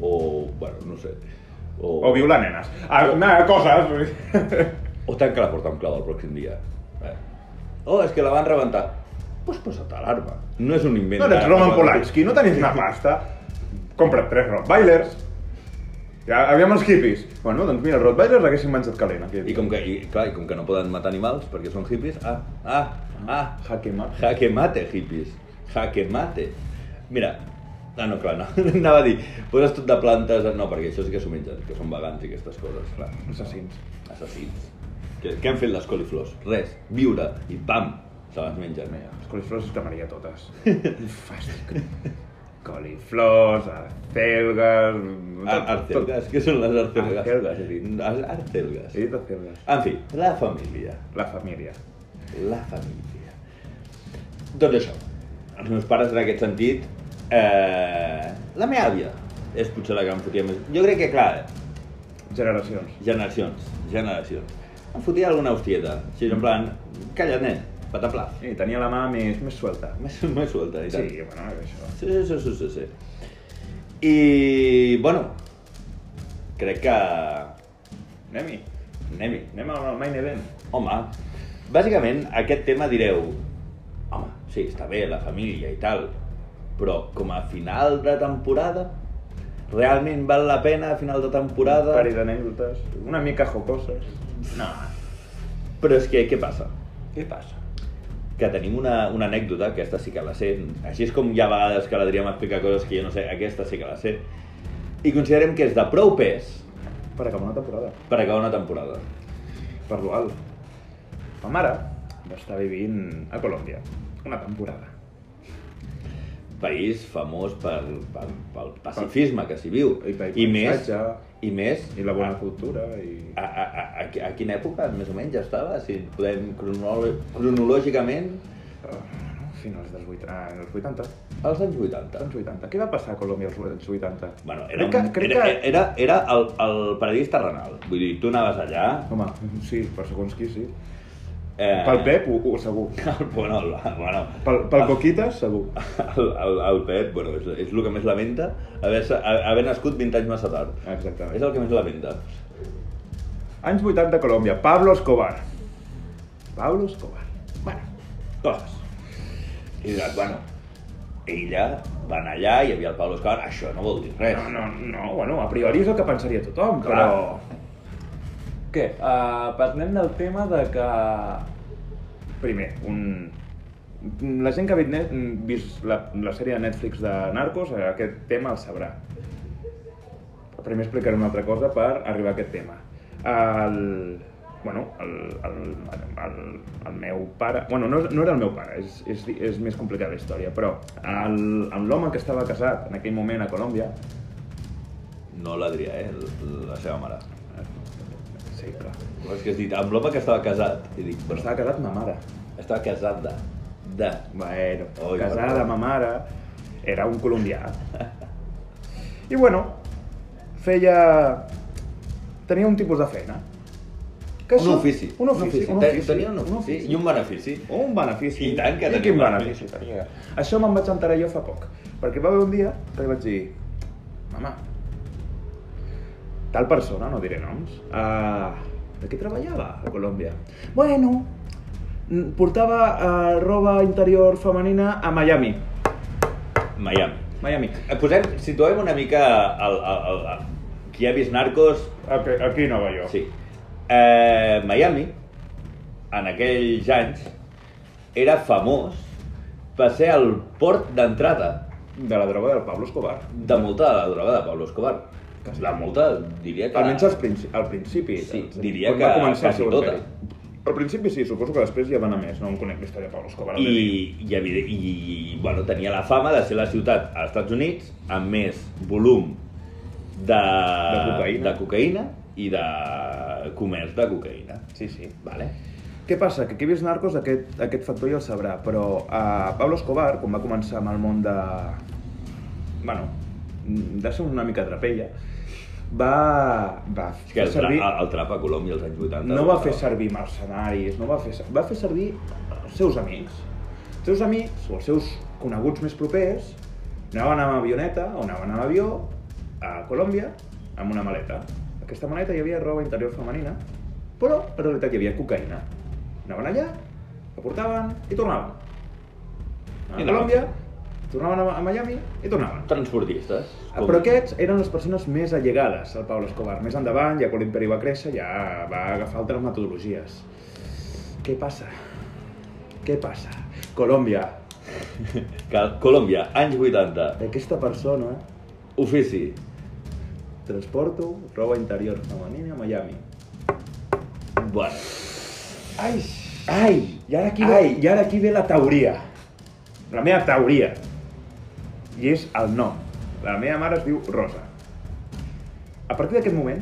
Speaker 1: O, bueno, no sé, o,
Speaker 2: O violar nenes. Ah, no, coses. vull dir.
Speaker 1: o tanca la porta amb clau el pròxim dia. Eh? Oh, és que la van rebentar. Pues posa't alarma. No és un invent.
Speaker 2: No eres
Speaker 1: d'ara,
Speaker 2: Roman
Speaker 1: quan-
Speaker 2: Polanski, no tenies una pasta. Compra't tres Rottweilers. Ja, aviam els hippies. Bueno, doncs mira, els Rottweilers l'haguessin menjat calent, aquí.
Speaker 1: I com que, i, clar, i com que no poden matar animals perquè són hippies, ah, ah, ah,
Speaker 2: Jaque mate.
Speaker 1: jaque mate, hippies, jaque mate. Mira, ah, no, clar, no, *laughs* anava a dir, poses tot de plantes, no, perquè això sí que s'ho mengen, que són vegans i aquestes coses, clar,
Speaker 2: Assassins.
Speaker 1: assassins. Què, què han fet les coliflors? Res, viure, i pam, se les mengen.
Speaker 2: Mira, les coliflors les cremaria *laughs* totes. Fàstic. Coliflors, acelgues... Ah,
Speaker 1: Ar- Arcelgas, què Ah, són les arcelgas?
Speaker 2: Arcelgas, he dit.
Speaker 1: Les arcelgas.
Speaker 2: He dit acelgues.
Speaker 1: En fi, la família.
Speaker 2: La família.
Speaker 1: La família. Doncs això. Els meus pares, en aquest sentit, eh, la meva àvia és potser la que em fotia més. Jo crec que, clar,
Speaker 2: Generacions.
Speaker 1: generacions, generacions. Em fotia alguna hostieta. Així, en plan, calla, nen, pataplà.
Speaker 2: I tenia la mà més, més suelta.
Speaker 1: Més, més suelta, i tant.
Speaker 2: Sí, bueno, això.
Speaker 1: Sí, sí, sí, sí, sí, sí. I, bueno, crec que...
Speaker 2: Anem-hi.
Speaker 1: Anem-hi.
Speaker 2: Anem al main event.
Speaker 1: Home, bàsicament aquest tema direu Home, sí, està bé, la família i tal Però com a final de temporada Realment val la pena a final de
Speaker 2: Un
Speaker 1: temporada
Speaker 2: pari d'anècdotes. Una mica jocoses. No.
Speaker 1: Però és que, què passa?
Speaker 2: Què passa?
Speaker 1: Que tenim una, una anècdota, aquesta sí que la sé Així és com hi ha vegades que l'Adrià m'explica coses que jo no sé Aquesta sí que la sé I considerem que és de prou pes
Speaker 2: Per acabar una temporada.
Speaker 1: per acabar una temporada
Speaker 2: Per l'Ual. Ma mare va estar vivint a Colòmbia. Una temporada.
Speaker 1: País famós pel, pel, pel pacifisme que s'hi viu
Speaker 2: I pel
Speaker 1: més,
Speaker 2: paisatge.
Speaker 1: i més
Speaker 2: I la bona cultura i...
Speaker 1: A, a, a, a, a quina època més o menys estava? Si podem cronolo- cronològicament
Speaker 2: Ah, no, finals dels 80, ah, en els 80,
Speaker 1: als anys 80.
Speaker 2: als 80. Què va passar a Colòmbia als als 80?
Speaker 1: Bueno, era,
Speaker 2: crec que,
Speaker 1: un,
Speaker 2: crec
Speaker 1: era,
Speaker 2: que...
Speaker 1: era, era el, el paradís terrenal. Vull dir, tu anaves allà...
Speaker 2: Home, sí, per segons qui, sí.
Speaker 1: Eh,
Speaker 2: Pel Pep, ho, ho segur.
Speaker 1: *laughs* El, bueno, el, bueno,
Speaker 2: Pel,
Speaker 1: Ah.
Speaker 2: pel Coquitas, segur.
Speaker 1: el, el, el Pep, bueno, és, és el que més lamenta haver, haver nascut 20 anys massa tard. És
Speaker 2: Exactament.
Speaker 1: el que més lamenta.
Speaker 2: Anys 80 a Colòmbia, Pablo Escobar. Pablo Escobar. Bueno,
Speaker 1: coses. I diràs, bueno, ella va anar allà, hi havia el Pablo Escobar, això no vol dir res.
Speaker 2: no, no, no, bueno, a priori és el que pensaria tothom,
Speaker 1: Clar.
Speaker 2: però...
Speaker 3: Què? Uh, parlem del tema de que...
Speaker 2: Primer, un... La gent que ha vist, net, vist la, la sèrie de Netflix de Narcos, eh, aquest tema el sabrà. Però Primer explicaré una altra cosa per arribar a aquest tema. El... Bueno, el, el, el, el meu pare... Bueno, no, no era el meu pare, és, és, és més complicada la història, però el- amb l'home que estava casat en aquell moment a Colòmbia,
Speaker 1: No l'Adrià, eh? l- La seva mare.
Speaker 2: sí, clar,
Speaker 1: Però és que has dit, amb l'home que estava casat. I dic,
Speaker 2: però
Speaker 1: bueno,
Speaker 2: estava casat ma mare.
Speaker 1: estava casat de... De...
Speaker 2: Bueno,
Speaker 1: Oi,
Speaker 2: casada
Speaker 1: perdó.
Speaker 2: ma mare, era un colombià. I bueno, feia... Tenia un tipus de feina. Que
Speaker 1: Un
Speaker 2: això-
Speaker 1: ofici.
Speaker 2: Un ofici.
Speaker 1: Te- Tenia un ofici i un benefici.
Speaker 2: Un benefici.
Speaker 1: I tant que
Speaker 2: I
Speaker 1: tenia
Speaker 2: quin
Speaker 1: un
Speaker 2: benefici tenia. Això me'n vaig enterar jo fa poc. Perquè va haver un dia que li vaig dir... Mama, tal persona, no diré noms, uh, de què treballava a Colòmbia? Bueno, mm, portava uh, roba interior femenina a Miami.
Speaker 1: Miami.
Speaker 2: Miami.
Speaker 1: Eh, Posem, situem una mica el, el, el, el, qui ha vist Narcos,
Speaker 2: Aquí, aquí Nova York.
Speaker 1: Sí. Eh, Miami, en aquells anys, era famós per ser el port d'entrada
Speaker 2: De la droga del Pablo Escobar.
Speaker 1: de molta de la droga de Pablo Escobar. La multa, diria que...
Speaker 2: Almenys al, principi, al principi.
Speaker 1: Sí,
Speaker 2: Al-
Speaker 1: diria
Speaker 2: quan
Speaker 1: que
Speaker 2: va començar el
Speaker 1: quasi
Speaker 2: seu
Speaker 1: tota.
Speaker 2: imperi. Al principi sí, suposo que després ja va anar més, no en conec la història de Pablo Escobar.
Speaker 1: I, i, evide- i bueno, tenia la fama de ser la ciutat als Estats Units amb més volum de,
Speaker 2: cocaïna.
Speaker 1: de cocaïna i de comerç de cocaïna.
Speaker 2: Sí, sí.
Speaker 1: Vale?
Speaker 2: Què passa? Que qui ha vist Narcos aquest, aquest factor ja el sabrà, però a Pablo Escobar, quan va començar amb el món de... Bueno, de ser una mica trapella, va, va
Speaker 1: És que
Speaker 2: fer
Speaker 1: el, tra el, el trap a Colòmbia als anys 80...
Speaker 2: no va fer servir mercenaris, no va fer, ser- va fer servir els seus amics. Els seus amics o els seus coneguts més propers anaven amb avioneta o anaven amb avió a Colòmbia amb una maleta. Aquesta maleta hi havia roba interior femenina, però en realitat hi havia cocaïna. Anaven allà, la portaven i tornaven.
Speaker 1: I
Speaker 2: Anaven
Speaker 1: anaven.
Speaker 2: a Colòmbia, tornaven a a Miami i tornaven.
Speaker 1: Transportistes.
Speaker 2: Ah, Però aquests eren les persones més allegades al Pablo Escobar. Més endavant, ja quan l'imperi va créixer, ja va agafar altres metodologies. Què passa? Què passa? Colòmbia,
Speaker 1: Que, Colòmbia, anys 80.
Speaker 2: d'aquesta persona
Speaker 1: Ofici.
Speaker 2: transporto roba interior femenina a Miami.
Speaker 1: Bueno,
Speaker 2: Ai, ai, i ara aquí,
Speaker 1: Ai.
Speaker 2: Ve, i ara aquí ve la teoria. La meva teoria. I és el nom. La meva mare es diu Rosa. A partir d'aquest moment,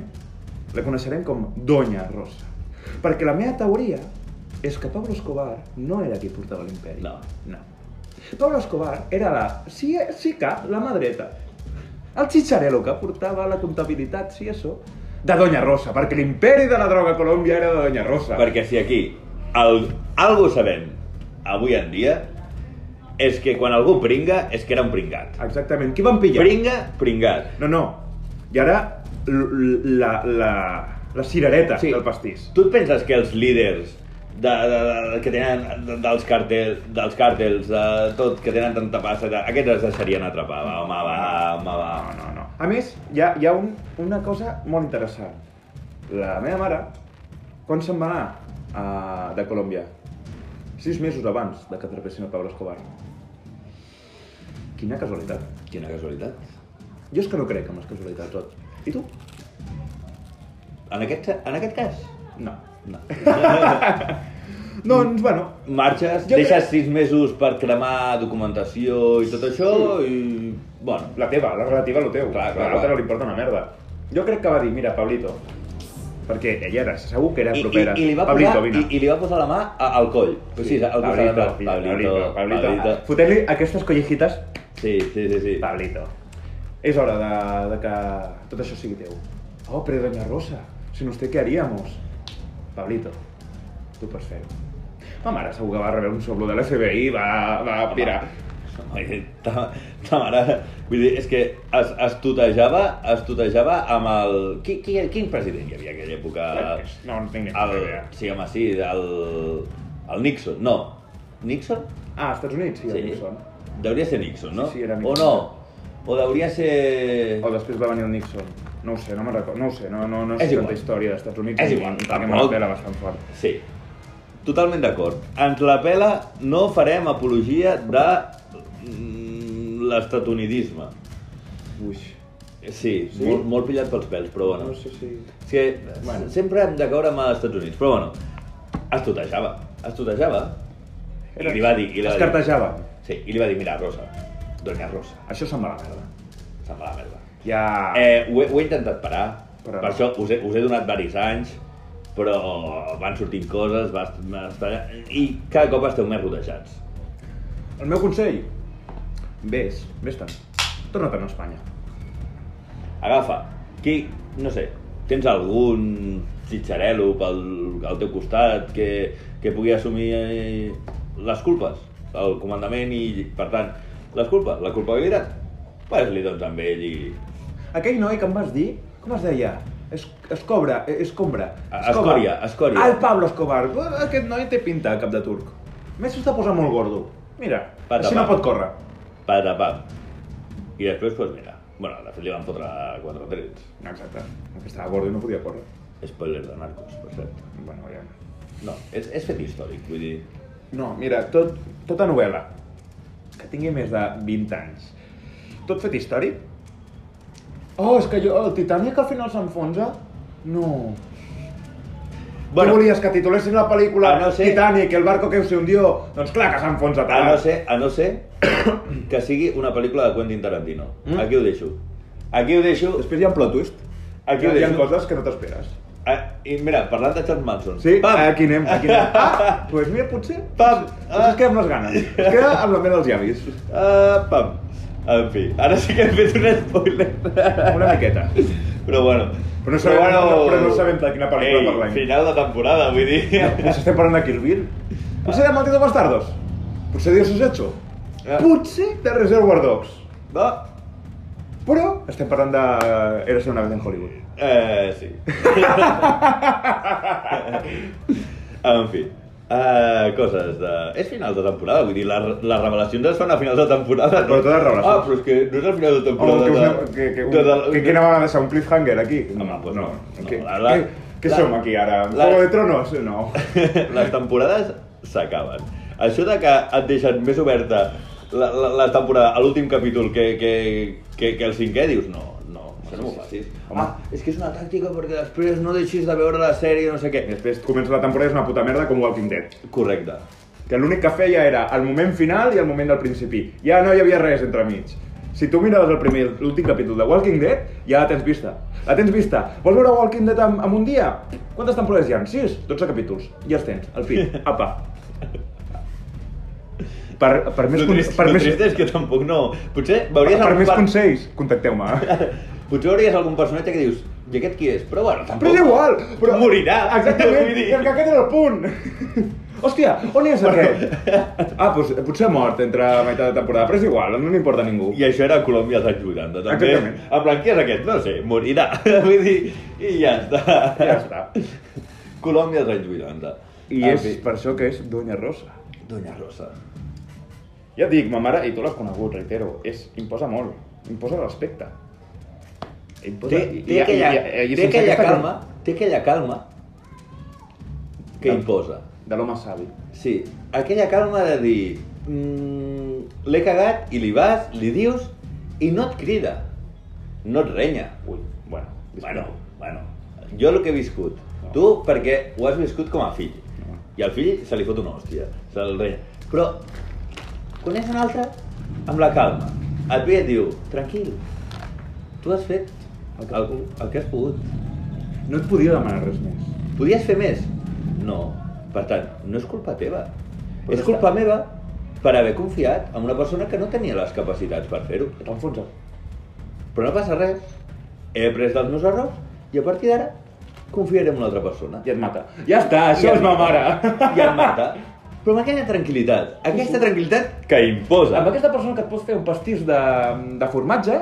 Speaker 2: la coneixerem com Doña Rosa. Perquè la meva teoria és que Pablo Escobar no era qui portava l'imperi.
Speaker 1: No.
Speaker 2: No. Pablo Escobar era la... Sí, sí que, la mà dreta. El xitxarelo que portava la comptabilitat, sí, això, de Doña Rosa, perquè l'imperi de la droga a Colòmbia era de Doña Rosa.
Speaker 1: perquè si aquí el, algo sabem avui en dia és que quan algú pringa és que era un pringat.
Speaker 2: Exactament. Qui van pillar?
Speaker 1: Pringa, pringat.
Speaker 2: No, no. I ara l- l- la, la, la cirereta sí. del pastís.
Speaker 1: Tu et penses que els líders de, de, de, que tenen de- dels càrtels, dels càrtels, de tot, que tenen tanta passa, de, aquests es deixarien atrapar, va, home, va, home, va.
Speaker 2: No, no, no. A més, hi ha, hi ha un, una cosa molt interessant. La meva mare, quan se'n va anar a, de Colòmbia? Sis mesos abans de que atrapessin el Pablo Escobar. Quina casualitat.
Speaker 1: Quina casualitat.
Speaker 2: Jo és que no crec en les casualitats, tot. I tu?
Speaker 1: En aquest, en aquest cas,
Speaker 2: No. *laughs*
Speaker 1: no.
Speaker 2: Doncs, bueno,
Speaker 1: Marxes,
Speaker 2: Jo
Speaker 1: deixes
Speaker 2: crec-
Speaker 1: sis mesos per cremar documentació i tot això i... Bueno,
Speaker 2: la teva, la relativa a lo teu.
Speaker 1: Clar, clar,
Speaker 2: a
Speaker 1: clar.
Speaker 2: l'altre no li importa una merda. Jo crec que va dir, mira, Pablito, perquè ella era, segur que era
Speaker 1: I, i,
Speaker 2: propera.
Speaker 1: i, li va
Speaker 2: Pablito,
Speaker 1: posar,
Speaker 2: vine.
Speaker 1: i, i li va posar la mà a- al coll. Sí, sí al costat
Speaker 2: Pablito,
Speaker 1: de Pablito, Pablito,
Speaker 2: Pablito. Pablito. Fotent-li aquestes collejitas,
Speaker 1: Sí, sí, sí, sí.
Speaker 2: Pablito. És hora de, de que tot això sigui teu. Oh, però doña Rosa, sin usted què haríamos? Pablito, tu pots fer-ho. Ma mare segur que va rebre un soplo de l'FBI, va, va
Speaker 1: Home,
Speaker 2: pirar.
Speaker 1: home, Ta, ta mare, vull dir, és que es, es tutejava, es tutejava amb el... Qui, qui, quin president hi havia en aquella època?
Speaker 2: No, no tinc ni
Speaker 1: El,
Speaker 2: puta idea.
Speaker 1: sí, home, sí, el, el Nixon, no. Nixon?
Speaker 2: Ah, als Estats Units, sí, sí. Nixon.
Speaker 1: Deuria ser Nixon, no?
Speaker 2: Sí, sí, era
Speaker 1: O
Speaker 2: Nixon.
Speaker 1: no? O deuria ser...
Speaker 2: O després va venir el Nixon. No ho sé, no me'n recordo, no ho sé, no, no, no
Speaker 1: És
Speaker 2: sé
Speaker 1: igual.
Speaker 2: tanta història dels Estats Units.
Speaker 1: És igual,
Speaker 2: perquè me la
Speaker 1: tampoc.
Speaker 2: pela bastant fort.
Speaker 1: Sí, totalment d'acord. Ens la pela, no farem apologia de mm, l'estatunidisme.
Speaker 2: Ui,
Speaker 1: Sí,
Speaker 2: Sí?
Speaker 1: Molt, molt pillat pels pèls, però bueno.
Speaker 2: no sé si...
Speaker 1: És que bueno.
Speaker 2: Bueno.
Speaker 1: sempre hem de caure amb els Estats Units, però bueno, es tutejava, es tutejava. I li va dir... I li
Speaker 2: es
Speaker 1: va dir,
Speaker 2: cartejava.
Speaker 1: sí, i li va dir, mira, Rosa, doña Rosa,
Speaker 2: Això se'n va a la merda.
Speaker 1: sembla la merda.
Speaker 2: Ja...
Speaker 1: Eh, ho, he, ho he intentat parar,
Speaker 2: Ah. Però
Speaker 1: per
Speaker 2: no.
Speaker 1: això us he, us he donat varis anys, però van sortint coses, va, va estar... i cada cop esteu més rodejats.
Speaker 2: El meu consell? Ves, vés-te'n. Torna-te'n a Espanya.
Speaker 1: Agafa, qui, no sé, tens algun xitxarelo pel, al teu costat que, que pugui assumir eh, les culpes, el comandament i, per tant, les culpes, la culpabilitat? Pues-li doncs amb ell i...
Speaker 2: Aquell noi que em vas dir, com es deia? Es, es cobra, eh, es combra.
Speaker 1: A-
Speaker 2: es cobra.
Speaker 1: Escòria, Escòria.
Speaker 2: Ah, El Pablo Escobar. Aquest noi té pinta de cap de turc. A més, s'està posant molt gordo. Mira,
Speaker 1: Pata,
Speaker 2: així no
Speaker 1: pata.
Speaker 2: pot córrer.
Speaker 1: Patapam. I després, pues mira, bueno, de fet li van fotre quatre trets.
Speaker 2: No, exacte. Que estava gordo i no podia córrer.
Speaker 1: Spoiler de Narcos, per cert.
Speaker 2: Bueno, ja...
Speaker 1: No, és, és fet històric, vull dir...
Speaker 2: No, mira, tot, tota novel·la que tingui més de 20 anys, tot fet històric? Oh, és que jo, el Titanic al final s'enfonsa? No. Bueno, tu volies que titulessin la pel·lícula
Speaker 1: A Ah, no ser-
Speaker 2: Titanic, el barco que se hundió? Doncs clar que s'enfonsa
Speaker 1: A
Speaker 2: tant.
Speaker 1: no ser, a no ser *coughs* que sigui una pel·lícula de Quentin Tarantino.
Speaker 2: Mm.
Speaker 1: Aquí ho deixo. Aquí ho deixo.
Speaker 2: Després hi ha un plot twist.
Speaker 1: Aquí ho
Speaker 2: hi ha
Speaker 1: deixo.
Speaker 2: coses que no t'esperes.
Speaker 1: Ah, I mira, parlant de Charles Manson.
Speaker 2: Sí,
Speaker 1: Pam!
Speaker 2: aquí anem, aquí
Speaker 1: *laughs*
Speaker 2: anem. Ah, doncs mira, potser...
Speaker 1: Pam!
Speaker 2: Potser es queda amb les ganes. Es queda amb la mel als llavis.
Speaker 1: Ah, pam! En fi, ara sí que hem fet un spoiler. *laughs*
Speaker 2: Una miqueta.
Speaker 1: Però bueno...
Speaker 2: Però no sabem- no, però no sabem de quina pel·lícula
Speaker 1: Ei,
Speaker 2: parlem.
Speaker 1: final de temporada, vull dir...
Speaker 2: Potser estem parlant de Kill Bill. Potser de Malditos Bastardos. Pues Potser Dios es hecho.
Speaker 1: Ah.
Speaker 2: Potser de Reservoir Dogs.
Speaker 1: No?
Speaker 2: Però estem parlant de... Era ser una vez en Hollywood.
Speaker 1: Eh,
Speaker 2: *laughs*
Speaker 1: sí. en fi. Uh, coses de... És final de temporada, vull dir, les, les revelacions es fan a final de temporada.
Speaker 2: Però totes les revelacions.
Speaker 1: Ah, però és que no és al final de
Speaker 2: Oh,
Speaker 1: temporada.
Speaker 2: que, us
Speaker 1: de-
Speaker 2: anem- que, que, un,
Speaker 1: de- de-
Speaker 2: que, que anàvem a deixar un cliffhanger aquí?
Speaker 1: Home, pues no. No,
Speaker 2: Què
Speaker 1: la- la-
Speaker 2: què- què
Speaker 1: la-
Speaker 2: som aquí ara?
Speaker 1: la-
Speaker 2: Juego de Tronos?
Speaker 1: *laughs*
Speaker 2: No.
Speaker 1: les temporades s'acaben. Això de que et deixen més oberta la, la, la temporada a l'últim capítol que, que, que, que el cinquè, dius no, no, això no m'ho facis.
Speaker 2: Home.
Speaker 1: Ah, és que és una tàctica perquè després no deixis de veure la sèrie, no sé què.
Speaker 2: I després comença la temporada i és una puta merda com Walking Dead.
Speaker 1: Correcte.
Speaker 2: Que l'únic que feia era el moment final i el moment del principi. Ja no hi havia res entremig. Si tu miraves el primer i l'últim capítol de Walking Dead, ja la tens vista. La tens vista. Vols veure Walking Dead en, en un dia? Quantes temporades hi ha? 6? 12 capítols. Ja els tens, al pit. Apa. Per, per més...
Speaker 1: Lo
Speaker 2: con-
Speaker 1: trist,
Speaker 2: per
Speaker 1: lo
Speaker 2: més,
Speaker 1: trist és que tampoc no... Potser
Speaker 2: per,
Speaker 1: veuries,
Speaker 2: per
Speaker 1: algun
Speaker 2: més
Speaker 1: per-
Speaker 2: consells, contacteu-me.
Speaker 1: potser veuries algun personatge que dius i aquest qui és? Però bueno, tampoc...
Speaker 2: Però és igual! Però...
Speaker 1: Morirà!
Speaker 2: Exactament!
Speaker 1: Vull dir-
Speaker 2: I el que aquest era el punt! Hòstia, on és aquest? Ah, doncs, potser ha mort entre meitat de temporada, però és igual, no n'importa a ningú.
Speaker 1: I això era a Colòmbia als anys 80, també.
Speaker 2: Exactament.
Speaker 1: En plan, qui és aquest? No sé, morirà. *laughs* Vull dir, i ja està.
Speaker 2: Ja està.
Speaker 1: Colòmbia als anys 80.
Speaker 2: I
Speaker 1: En
Speaker 2: és
Speaker 1: fi.
Speaker 2: per això que és Doña Rosa.
Speaker 1: Doña Rosa.
Speaker 2: Ja et dic, ma mare, i tu l'has conegut, reitero, és, imposa molt, imposa respecte. Imposa,
Speaker 1: Té,
Speaker 2: i-
Speaker 1: té
Speaker 2: i-
Speaker 1: aquella,
Speaker 2: i- i- i
Speaker 1: té
Speaker 2: sense
Speaker 1: aquella
Speaker 2: aquesta-
Speaker 1: calma, té aquella calma que
Speaker 2: Ah.
Speaker 1: imposa.
Speaker 2: De l'home savi.
Speaker 1: Sí, aquella calma de dir... Mm, L'he cagat i li vas, li dius i no et crida, no et renya.
Speaker 2: Ui, bueno.
Speaker 1: Bueno, bueno, jo el que he viscut. Tu perquè ho has viscut com a fill.
Speaker 2: No.
Speaker 1: I al fill se li fot una hòstia, se'l renya. Però quan és un altre, amb la calma, et ve i et diu, tranquil, tu has fet
Speaker 2: El que has
Speaker 1: el, el que has pogut.
Speaker 2: No et podia demanar res més.
Speaker 1: Podies fer més? No. Per tant, no és culpa teva.
Speaker 2: Però
Speaker 1: és
Speaker 2: està.
Speaker 1: culpa meva per haver confiat en una persona que no tenia les capacitats per fer-ho.
Speaker 2: T'ha enfonsat.
Speaker 1: Però no passa res. He après dels meus errors i a partir d'ara confiaré en una altra persona.
Speaker 2: I et mata. Ja està, això
Speaker 1: I
Speaker 2: és ma mare.
Speaker 1: I em mata. Però amb aquella tranquil·litat, aquesta tranquil·litat que imposa.
Speaker 2: Amb aquesta persona que et pots fer un pastís de, de formatge,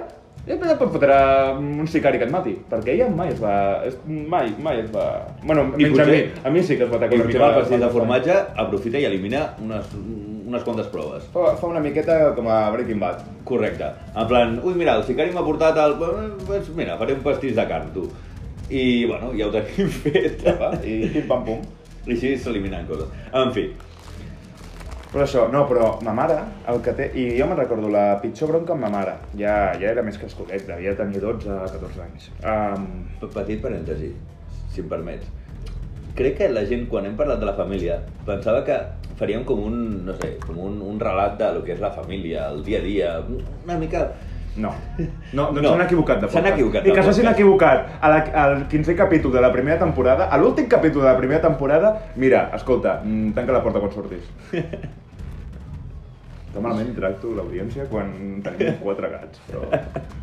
Speaker 2: eh, però et pot fotre mm, un sicari que et mati, perquè ella mai es va... Es, mai, mai es va... Bueno,
Speaker 1: I
Speaker 2: menys a mi,
Speaker 1: potser-
Speaker 2: a mi sí que es va atacar
Speaker 1: I potser el pastís de
Speaker 2: fa-
Speaker 1: formatge aprofita i elimina unes, unes quantes proves.
Speaker 2: Fa, fa una miqueta com a Breaking Bad.
Speaker 1: Correcte. En plan, ui, mira, el sicari m'ha portat el... Doncs mira, faré un pastís de carn, tu. I, bueno, ja ho tenim *laughs* fet.
Speaker 2: Va, I pim pam pum.
Speaker 1: I així s'eliminen coses. En fi,
Speaker 2: Però això, no, però ma mare, el que té... I jo me'n recordo, la pitjor bronca amb ma mare. Ja, ja era més que escolet, devia tenir 12 o 14 anys. Um,
Speaker 1: pe- petit parèntesi, si em permets. Crec que la gent, quan hem parlat de la família, pensava que faríem com un, no sé, com un, un relat de lo que és la família, el dia a dia, una mica... *laughs*
Speaker 2: No. No, doncs
Speaker 1: No.
Speaker 2: s'han equivocat de
Speaker 1: S'han
Speaker 2: podcast.
Speaker 1: equivocat de
Speaker 2: I que s'hagin
Speaker 1: podcast.
Speaker 2: equivocat a la, al 15è capítol de la primera temporada, a l'últim capítol de la primera temporada, mira, escolta, mm, tanca la porta quan
Speaker 1: *laughs*
Speaker 2: surtis. Que malament tracto l'audiència quan tenim quatre gats, però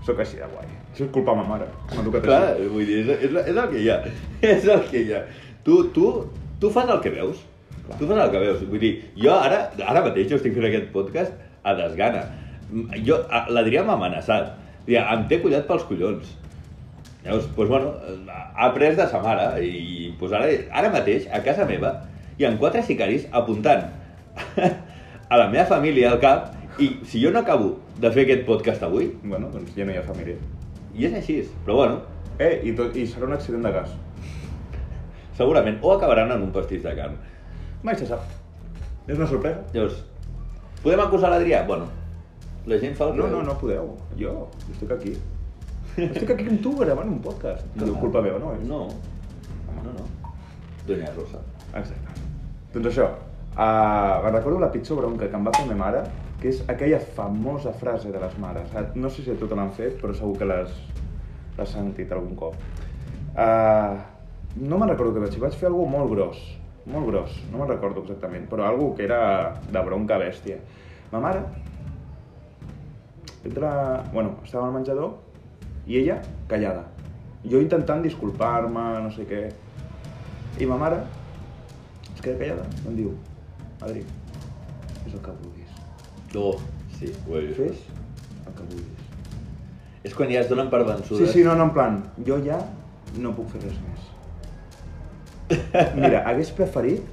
Speaker 2: sóc així de guai. Això és culpa de ma mare, m'ha educat
Speaker 1: Clar,
Speaker 2: així.
Speaker 1: vull dir, és, és, la- és el que hi ha. *laughs* És el que hi ha. Tu, tu, tu fas el que veus.
Speaker 2: Clar.
Speaker 1: Tu fas el que veus. Vull dir, jo ara, ara mateix jo estic fent aquest podcast a desgana. Mm, Jo, a- l'Adrià m'ha amenaçat. Dia, em té collat pels collons. Llavors, doncs, bueno, ha après de sa mare i doncs ara, ara mateix, a casa meva, hi ha quatre sicaris apuntant *laughs* a la meva família al cap i si jo no acabo de fer aquest podcast avui,
Speaker 2: Bueno, doncs ja no hi ha família.
Speaker 1: i és així, però bueno,
Speaker 2: Eh, i, tot, i serà un accident de gas.
Speaker 1: Segurament, o acabaran en un pastís de carn.
Speaker 2: Mai se sap. És una sorpresa.
Speaker 1: Llavors, podem acusar l'Adrià? Bueno, la gent fa el que
Speaker 2: No,
Speaker 1: veu.
Speaker 2: no, no podeu. Jo estic aquí. Estic aquí amb tu gravant un podcast. I diu, culpa meva, no? És...
Speaker 1: No, no, no. Doña Rosa.
Speaker 2: Exacte. Doncs això, uh, me'n recordo la pitjor bronca que em va fer ma mare, que és aquella famosa frase de les mares. Ah, No sé si a tu te l'han fet, però segur que l'has l'has sentit algun cop. Uh, No me'n recordo què vaig fer, vaig fer alguna molt gros, molt gros, no me'n recordo exactament, però alguna que era de bronca bèstia. Ma mare entra... Bueno, estava al menjador i ella callada. Jo intentant disculpar-me, no sé què... I ma mare es queda callada, em diu, Adri, fes el que vulguis.
Speaker 1: No, sí, ho he vist.
Speaker 2: Fes el que vulguis.
Speaker 1: És quan ja es donen per vençudes.
Speaker 2: Sí, sí, no, no, en plan, jo ja no puc fer res més. Mira, hagués preferit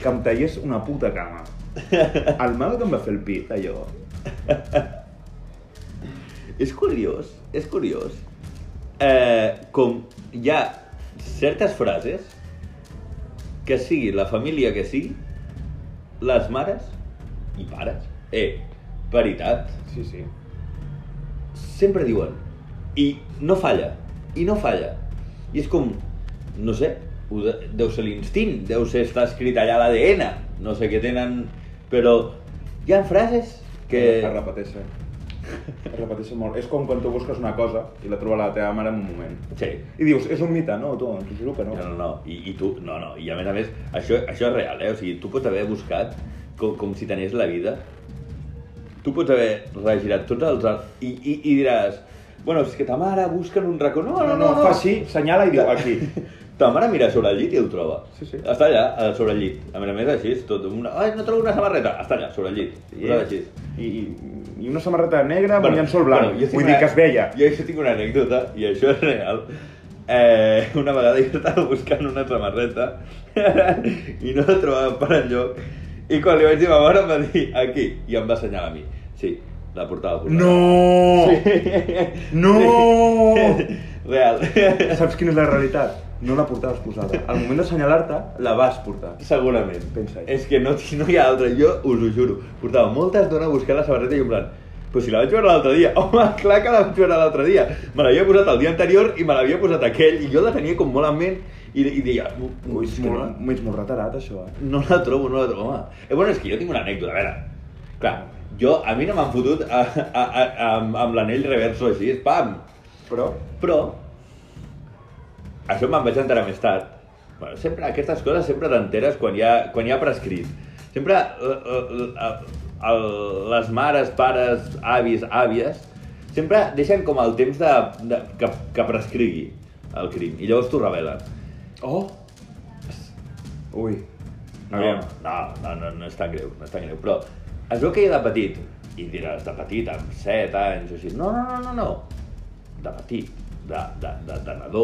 Speaker 2: que em tallés una puta cama. El mal que em va fer el pit, allò.
Speaker 1: És curiós, és curiós. Eh, com hi ha certes frases que sigui la família que sigui, les mares i pares, eh, paritat,
Speaker 2: Sí, sí.
Speaker 1: sempre diuen i no falla, i no falla. I és com, no sé, ho de, deu ser l'instint, deu ser estar escrit allà a l'ADN, no sé què tenen, però hi ha frases que...
Speaker 2: Es repeteixen. Es repeteixen molt. És com quan tu busques una cosa i la troba la teva mare en un moment.
Speaker 1: Sí,
Speaker 2: I dius, és un mite, no, tu, t'ho juro que no.
Speaker 1: No, no, no. I, i tu, no, no. I a més a més, això, això és real, eh? O sigui, tu pots haver buscat com, com si tenies la vida. Tu pots haver regirat tots els... ar- I, i, i diràs, bueno, és que ta mare busca en un racó... No, no, no, no,
Speaker 2: fa així, senyala i diu, aquí.
Speaker 1: Ta mare mira sobre el llit i el troba.
Speaker 2: Sí, sí.
Speaker 1: Està allà, eh, sobre el llit. A més a més, així, és tot una... Ai, no trobo una samarreta. Està allà, sobre el llit.
Speaker 2: I,
Speaker 1: Posada així.
Speaker 2: i, i una samarreta negra amb un llençol blanc.
Speaker 1: jo tinc
Speaker 2: Vull dir que es veia.
Speaker 1: Jo això tinc una anècdota, i això és real. Eh, una vegada jo estava buscant una samarreta *laughs* i no la trobava per enlloc. I quan li vaig dir a ma mare em va dir aquí, i em va assenyalar a mi. Sí, la portava posada.
Speaker 2: No! No!
Speaker 1: Sí. *laughs* Real.
Speaker 2: *laughs* Saps quina és la realitat? No la portaves posada. Al moment d'assenyalar-te, la vas portar.
Speaker 1: Segurament.
Speaker 2: Pensa-hi.
Speaker 1: És que no, *laughs* no hi ha altra, jo us ho juro. Portava molta estona buscant la samarreta i en plan... Però si la vaig veure l'altre dia. *laughs* Home, clar que la vaig veure l'altre dia. Me l'havia posat el dia anterior i me l'havia posat aquell. I jo la tenia com molt en ment i, i deia... "No, no,
Speaker 2: Ui,
Speaker 1: és
Speaker 2: és
Speaker 1: que
Speaker 2: molt, és molt reterat, això, eh?
Speaker 1: no, no la trobo, no la trobo, home. Eh, bueno, és que jo tinc una anècdota, a veure. Clar, jo, a mi no m'han fotut a, a, a, a, amb, amb l'anell reverso així, pam!
Speaker 2: Però...
Speaker 1: Però, això me'n vaig enterar més tard. Bueno, sempre, aquestes coses sempre t'enteres quan, hi ha- quan hi ha prescrit. Sempre eh, eh, eh, el- les mares, pares, avis, àvies, sempre deixen com el temps de, de, que, que prescrigui el crim i llavors t'ho revelen.
Speaker 2: Oh! Ui.
Speaker 1: No, no, no, no, no és tan greu, no és tan greu. Però es veu que ja de petit, i diràs de petit, amb 7 anys o així, no, no, no, no, no. De petit, de, de, de, de nadó,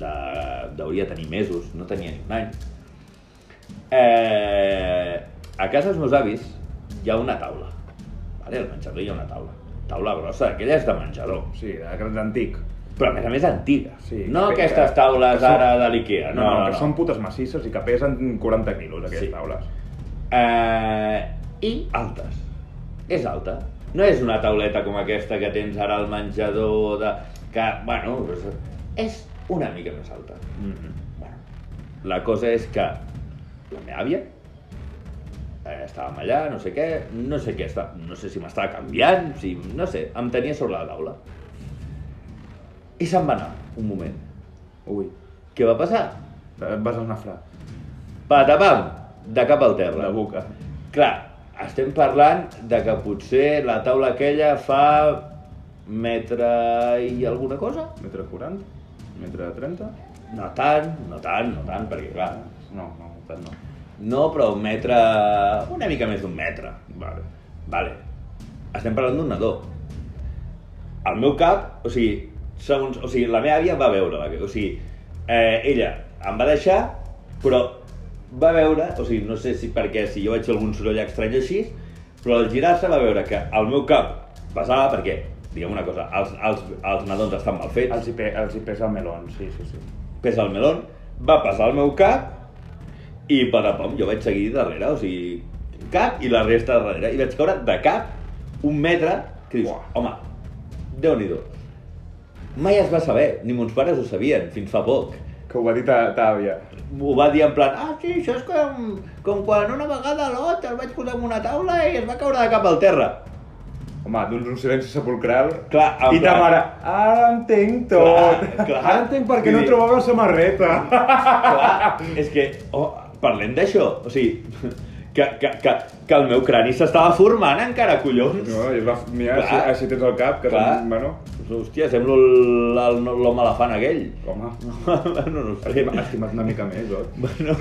Speaker 1: de, deuria tenir mesos, no tenia ni un any. Eh, a casa dels meus avis hi ha una taula, vale? al menjador hi ha una taula. Taula grossa, aquella és de menjador.
Speaker 2: Sí, de gran antic.
Speaker 1: Però a més a més antiga.
Speaker 2: Sí,
Speaker 1: no
Speaker 2: que-
Speaker 1: aquestes
Speaker 2: que-
Speaker 1: taules
Speaker 2: que són-
Speaker 1: ara de l'Ikea. No, no, no.
Speaker 2: que són putes massisses i que pesen 40 quilos,
Speaker 1: Sí.
Speaker 2: aquestes taules.
Speaker 1: Eh, I altes. És alta. No és una tauleta com aquesta que tens ara al menjador de... que, bueno, és, és una mica més alta.
Speaker 2: Mm -hmm.
Speaker 1: Bueno, la cosa és que la meva àvia eh, estàvem allà, no sé què, no sé què està, no sé si m'estava canviant, si, no sé, em tenia sobre la taula. I se'n va anar, un moment.
Speaker 2: Ui.
Speaker 1: Què va passar?
Speaker 2: Et vas esnafrar.
Speaker 1: Patapam! De cap al terra.
Speaker 2: La boca.
Speaker 1: Clar, estem parlant de que potser la taula aquella fa metre i alguna cosa?
Speaker 2: Metre 40? Metre 30?
Speaker 1: No tant, no tant, no tant, perquè clar,
Speaker 2: No, no, tant no.
Speaker 1: no, però un metre, una mica més d'un metre.
Speaker 2: Vale.
Speaker 1: Vale, estem parlant d'un nadó. Al meu cap, o sigui, segons, o sigui, la meva àvia va veure, la, o sigui, eh, ella em va deixar, però va veure, o sigui, no sé si perquè si jo vaig fer algun soroll estrany o així, però al girar-se va veure que al meu cap passava perquè, diguem una cosa, els, els, els nadons estan mal fets,
Speaker 2: Els hi, pe els hi pesa el melón, sí, sí, sí.
Speaker 1: pesa el melón, va passar al meu cap i patapam, jo vaig seguir darrere, o sigui, cap i la resta darrere. I vaig caure de cap un metre que dius,
Speaker 2: Uah.
Speaker 1: home, déu nhi Mai es va saber, ni mons pares ho sabien, fins fa poc.
Speaker 2: Que ho va dir ta, ta àvia.
Speaker 1: Ho va dir en plan, ah, sí, això és com, com quan una vegada a l'Ot el vaig posar en una taula i es va caure de cap al terra.
Speaker 2: Home, doncs un silenci sepulcral.
Speaker 1: Clar, en
Speaker 2: I ta
Speaker 1: plan-
Speaker 2: mare, ara entenc tot.
Speaker 1: Clar, clar.
Speaker 2: Ara entenc per què
Speaker 1: Vull
Speaker 2: no
Speaker 1: dir-
Speaker 2: trobava la samarreta.
Speaker 1: Clar, és que oh, parlem d'això, o sigui, que, que, que, que el meu crani s'estava formant encara, collons.
Speaker 2: No, i va, mira,
Speaker 1: Clar.
Speaker 2: així, així tens el cap, que
Speaker 1: Clar.
Speaker 2: tenim, bueno...
Speaker 1: Hòstia, semblo el- el- l'home elefant aquell. *laughs*
Speaker 2: Home,
Speaker 1: bueno, no ho sé.
Speaker 2: estima- estimat una mica més, oi?
Speaker 1: Bueno,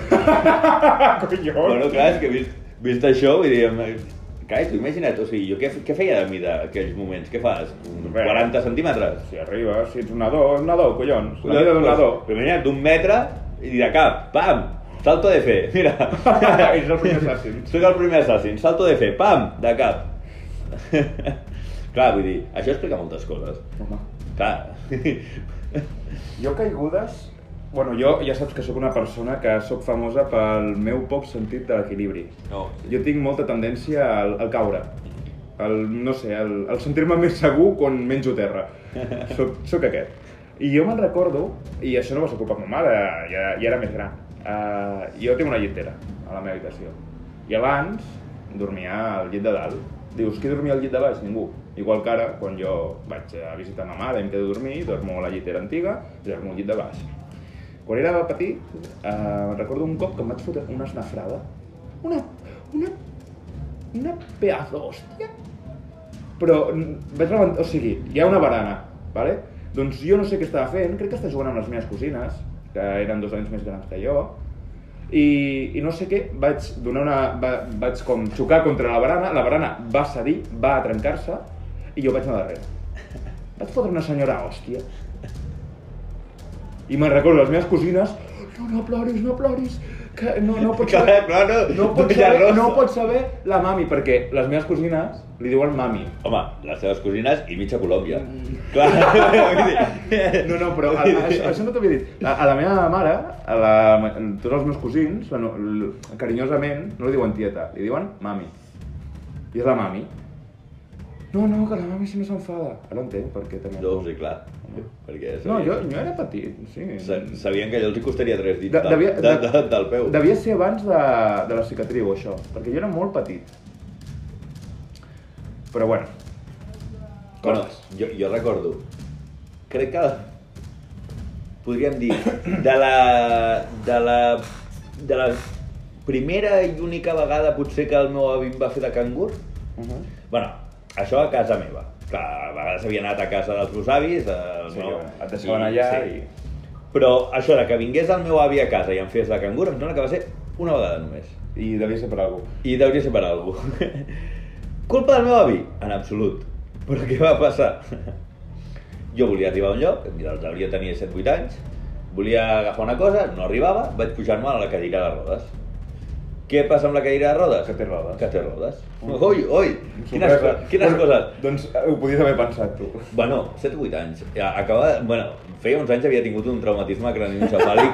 Speaker 2: *laughs* Collons!
Speaker 1: bueno, clar, és que vist, vist això, vull dir, em- Carai, tu imagina't, o sigui, jo què, què feia de mi d'aquells moments? Què fas? Un
Speaker 2: Res.
Speaker 1: 40 centímetres?
Speaker 2: Si arriba, si ets un nadó, un nadó, collons. La vida
Speaker 1: Collons,
Speaker 2: d'un
Speaker 1: doncs,
Speaker 2: nadó. *laughs*
Speaker 1: Però imagina't, d'un metre i de cap, pam, salto de fe, *laughs*
Speaker 2: *laughs*
Speaker 1: mira.
Speaker 2: Ets el primer assassin.
Speaker 1: Soc el primer assassin, salto de fe, pam, de cap. Clar, vull dir, això explica moltes coses.
Speaker 2: Home.
Speaker 1: Clar.
Speaker 2: Jo caigudes... Bueno, jo ja saps que sóc una persona que sóc famosa pel meu poc sentit de l'equilibri.
Speaker 1: No.
Speaker 2: Jo tinc molta tendència al, al caure. El, no sé, al, al sentir-me més segur quan menjo terra. Soc, soc aquest. I jo me'n recordo, i això no va ser culpa de ma mare, eh, ja, ja era més gran. Uh, jo tinc una llitera a la meva habitació. I abans dormia al llit de dalt. Dius, qui dormia al llit de baix? Ningú. Igual que ara, quan jo vaig a visitar ma mare i em quedo a dormir, dormo a la llitera antiga i dormo al llit de baix. Quan era petit, eh, recordo un cop que em vaig fotre una esnafrada. Una... una... una pedazo d'hòstia. Però mm, vaig levantar... O sigui, hi ha una barana, ¿vale? Doncs jo no sé què estava fent, crec que estava jugant amb les meves cosines, que eren dos anys més grans que jo, i, i no sé què, vaig donar una... Va, vaig com xocar contra la barana, la barana va cedir, va trencar-se, i jo vaig anar darrere. Vaig fotre una senyora hòstia. I me'n recordo les meves cosines, no, no ploris, no ploris, que no, no
Speaker 1: *laughs*
Speaker 2: pots
Speaker 1: Clar,
Speaker 2: saber,
Speaker 1: clar, no,
Speaker 2: no, pots
Speaker 1: Villa
Speaker 2: saber,
Speaker 1: Rosa.
Speaker 2: no pots saber la mami, perquè les meves cosines li diuen mami.
Speaker 1: Home, les seves cosines i mitja Colòmbia.
Speaker 2: Mm.
Speaker 1: *laughs* Clar, vull dir...
Speaker 2: No, no, però a, a, això, això no t'ho havia dit. A, a la meva mare, a la, a tots els meus cosins, la, no- l- carinyosament, no li diuen tieta, li diuen mami. I és la mami. No, no, que la mami si no s'enfada. Ara entenc per què també.
Speaker 1: Jo, sí, clar. Perquè
Speaker 2: No, jo, jo era petit, sí.
Speaker 1: sa- Sabien que allò els hi costaria tres dits
Speaker 2: De,
Speaker 1: del-
Speaker 2: devia,
Speaker 1: de, de, del peu.
Speaker 2: Devia ser abans de, de la cicatriu, això, perquè jo era molt petit. Però bueno.
Speaker 1: Bueno, jo, jo recordo. Crec que podríem dir de la, de la, de la primera i única vegada potser que el meu avi em va fer de cangur.
Speaker 2: Uh -huh.
Speaker 1: bueno, això a casa meva. Que a vegades havia anat a casa dels meus avis. eh, El
Speaker 2: Sí,
Speaker 1: meu...
Speaker 2: et deixaven allà i-
Speaker 1: Però això de que vingués el meu avi a casa i em fes de cangur, em sembla que va ser una vegada només.
Speaker 2: I devia ser per algú.
Speaker 1: I deuria ser per algú. *laughs* Culpa del meu avi? En absolut. Però què va passar? *laughs* Jo volia arribar a un lloc, mira, devia tenir 7-8 anys, volia agafar una cosa, no arribava, vaig pujar-me a la cadira de rodes. Què passa amb la cadira de rodes?
Speaker 2: Que té rodes.
Speaker 1: Que té rodes. Ui, ui, quines,
Speaker 2: Sorpresa.
Speaker 1: co- quines
Speaker 2: Bueno,
Speaker 1: coses.
Speaker 2: Doncs eh, ho podies haver pensat tu.
Speaker 1: Bueno, 7-8 anys. Ja, Acabava... Bueno, feia uns anys havia tingut un traumatisme
Speaker 2: *laughs*
Speaker 1: craniocefàlic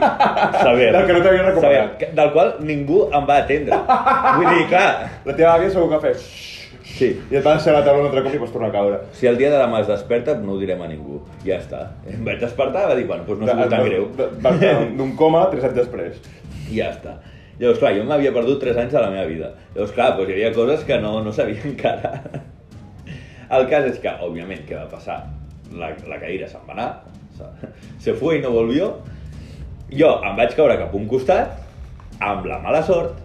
Speaker 1: sever.
Speaker 2: Del que no t'havies recuperat.
Speaker 1: Sever, que- Del qual ningú em va
Speaker 2: *laughs*
Speaker 1: atendre. Vull dir, clar,
Speaker 2: La teva àvia segur que fes...
Speaker 1: sí.
Speaker 2: I et van ser la taula un altre cop i vas tornar a caure.
Speaker 1: Si el dia de demà es desperta, no ho direm a ningú. Ja està. Em vaig despertar i va dir, bueno, doncs no ha sigut tan
Speaker 2: De-
Speaker 1: greu.
Speaker 2: de-
Speaker 1: *laughs*
Speaker 2: Vas quedar d'un coma tres anys després.
Speaker 1: I ja està. Llavors, clar, jo m'havia perdut 3 anys de la meva vida. Llavors, clar, doncs hi havia coses que no, no sabia *laughs* encara. El cas és que, òbviament, què va passar? La, la cadira se'n va anar, se- se fue i no volvió. Jo em vaig caure cap a un costat, amb la mala sort,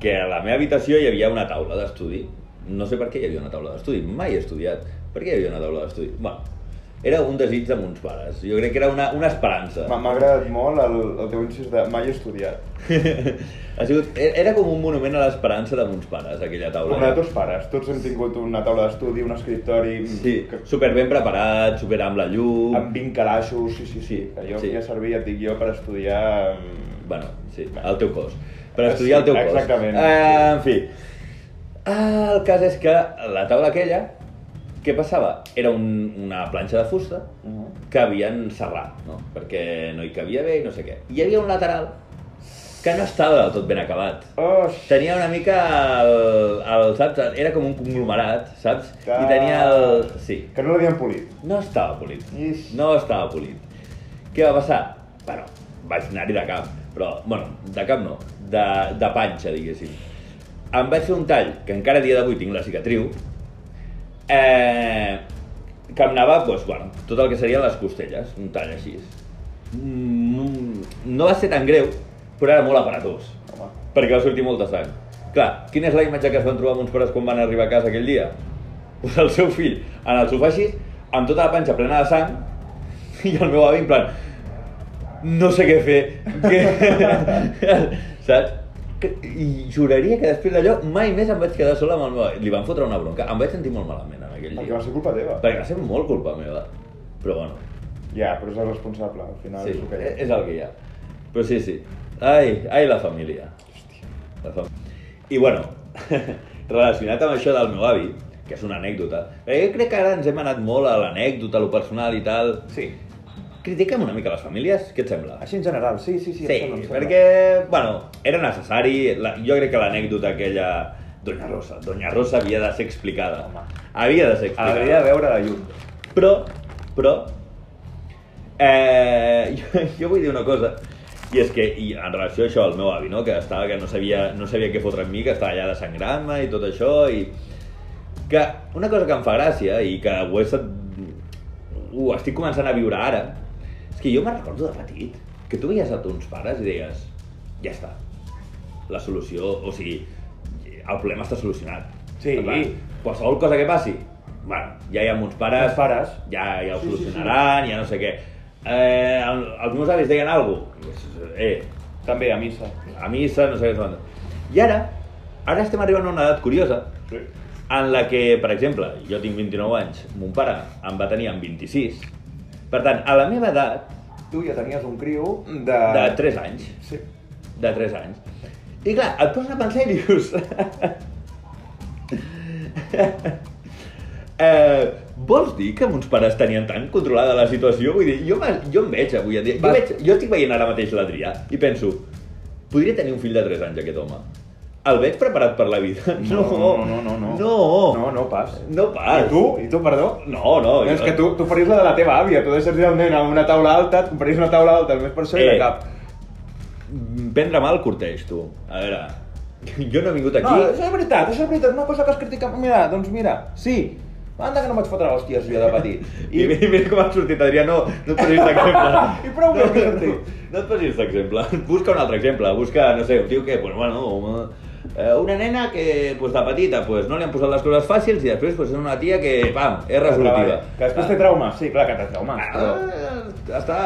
Speaker 1: que a la meva habitació hi havia una taula d'estudi. No sé per què hi havia una taula d'estudi, mai he estudiat. Per què hi havia una taula d'estudi? Bueno, era un desig de mons pares. Jo crec que era una, una esperança.
Speaker 2: M'ha m'ha agradat molt el, el teu incís de mai he estudiat.
Speaker 1: ha sigut, e-, era com un monument a l'esperança de mons pares, aquella taula.
Speaker 2: Com la de tots pares. Tots hem tingut una taula d'estudi, un escriptori...
Speaker 1: Sí,
Speaker 2: que-
Speaker 1: super ben preparat, super amb la llum...
Speaker 2: Amb 20 calaixos, sí, sí, sí.
Speaker 1: Sí,
Speaker 2: Allò
Speaker 1: sí.
Speaker 2: sí. que ja servia, et dic jo, per estudiar... mm,
Speaker 1: Bueno, sí, el teu cos. Per estudiar el
Speaker 2: Ah, Sí,
Speaker 1: teu cos.
Speaker 2: exactament.
Speaker 1: Eh, en fi. Ah, el cas és que la taula aquella, què passava? Era un, una planxa de fusta
Speaker 2: Mhm.
Speaker 1: que havien serrat, no? Perquè no hi cabia bé i no sé què. I hi havia un lateral que no estava del tot ben acabat.
Speaker 2: Oh,
Speaker 1: Tenia una mica el, el saps? Era com un conglomerat, saps? I tenia el... Sí.
Speaker 2: Que no l'havien polit.
Speaker 1: No estava polit.
Speaker 2: Ix.
Speaker 1: No estava polit. Què va passar? Bueno, vaig anar-hi de cap, però, bueno, de cap no, de, de panxa, diguéssim. Em vaig fer un tall, que encara a dia d'avui tinc la cicatriu, Eh, Camp Nava, doncs, bueno, tot el que serien les costelles, un tall així. Mm, no va ser tan greu, però era molt aparatós,
Speaker 2: Home.
Speaker 1: perquè va sortir molta sang. Clar, quina és la imatge que es van trobar amb uns pares quan van arribar a casa aquell dia? Pues el seu fill en el sofà així, amb tota la panxa plena de sang, i el meu avi en plan, no sé què fer, que... *laughs* saps? Que- I juraria que després d'allò mai més em vaig quedar sola amb el meu avi. Li van fotre una bronca, em vaig sentir molt malament en aquell dia.
Speaker 2: Perquè va ser culpa teva.
Speaker 1: Perquè va ser molt culpa meva. Però bueno,
Speaker 2: Ja, però és el responsable, al final
Speaker 1: sí, Eh, és
Speaker 2: és el que hi ha.
Speaker 1: el que hi ha. Però sí, sí. Ai, ai la família. La fam... I bueno, *laughs* relacionat amb això del meu avi, que és una anècdota, eh, jo crec que ara ens hem anat molt a l'anècdota, a lo personal i tal.
Speaker 2: Sí,
Speaker 1: Critica'm una mica les famílies, què et sembla?
Speaker 2: així en general, sí, sí, sí.
Speaker 1: eh.
Speaker 2: em
Speaker 1: Sí,
Speaker 2: sembla, em sembla.
Speaker 1: perquè, bueno, era necessari, la, jo crec que l'anècdota aquella... Doña Rosa, Doña Rosa havia de ser explicada.
Speaker 2: Home.
Speaker 1: Havia de ser explicada.
Speaker 2: Hauria de veure de lluny.
Speaker 1: Però, però, eh, *laughs* jo, jo vull dir una cosa, i és que, i en relació a això, el meu avi, no?, que estava, que no sabia, no sabia què fotre amb mi, que estava allà desangrant-me i tot això, i que una cosa que em fa gràcia i que ho, he, sent- ho estic començant a viure ara, és que jo me'n recordo de petit, que tu veies a tons pares i deies, ja està, la solució, o sigui, el problema està solucionat.
Speaker 2: Sí.
Speaker 1: Clar, Qualsevol cosa que passi, bueno, ja hi ha uns pares,
Speaker 2: Uns pares.
Speaker 1: ja, ja ho
Speaker 2: Sí, sí, sí.
Speaker 1: solucionaran, ja no sé què. Eh, el- els meus avis deien alguna cosa, eh,
Speaker 2: També a missa.
Speaker 1: a missa, no sé què. tal. I ara, ara estem arribant a una edat curiosa,
Speaker 2: Sí.
Speaker 1: en la que, per exemple, jo tinc 29 anys, mon pare em va tenir amb 26, per tant, a la meva edat,
Speaker 2: Tu ja tenies un criu de...
Speaker 1: de 3 anys,
Speaker 2: Sí.
Speaker 1: de 3 anys, i clar, et poses a pensar i dius... *laughs* eh, vols dir que mons pares tenien tan controlada la situació? Vull dir, jo, me- jo em veig avui en dia, jo,
Speaker 2: Va.
Speaker 1: veig, jo estic veient ara mateix l'Adrià i penso, podria tenir un fill de 3 anys aquest home. El veig preparat per la vida? *laughs* No,
Speaker 2: No, no, no. No,
Speaker 1: No,
Speaker 2: no, no pas.
Speaker 1: no pas.
Speaker 2: I tu? I tu, perdó?
Speaker 1: No, no.
Speaker 2: No, és que tu, tu faries la de la teva àvia, tu deixes dir al nen a una taula alta, et compraries una taula alta, només per això i
Speaker 1: Eh,
Speaker 2: de cap.
Speaker 1: Mm, Prendre mal corteix, tu. A veure, jo no he vingut aquí...
Speaker 2: No, això és veritat, això és veritat, una cosa que has criticat, mira, doncs mira, sí, anda que no em vaig fotre hòsties jo de petit.
Speaker 1: I, I mira com ha sortit, Adrià, no, no et
Speaker 2: *laughs*
Speaker 1: posis d'exemple.
Speaker 2: I prou bé que he
Speaker 1: no,
Speaker 2: sortit.
Speaker 1: no et posis d'exemple. Busca un altre exemple. Busca, no sé, un tio que, pues, bueno, un- eh, una nena que pues, de petita pues, no li han posat les coses fàcils i després pues, és una tia que, pam, és resolutiva.
Speaker 2: Que després té trauma, sí, clar que té trauma.
Speaker 1: Ah,
Speaker 2: Però...
Speaker 1: ah, està,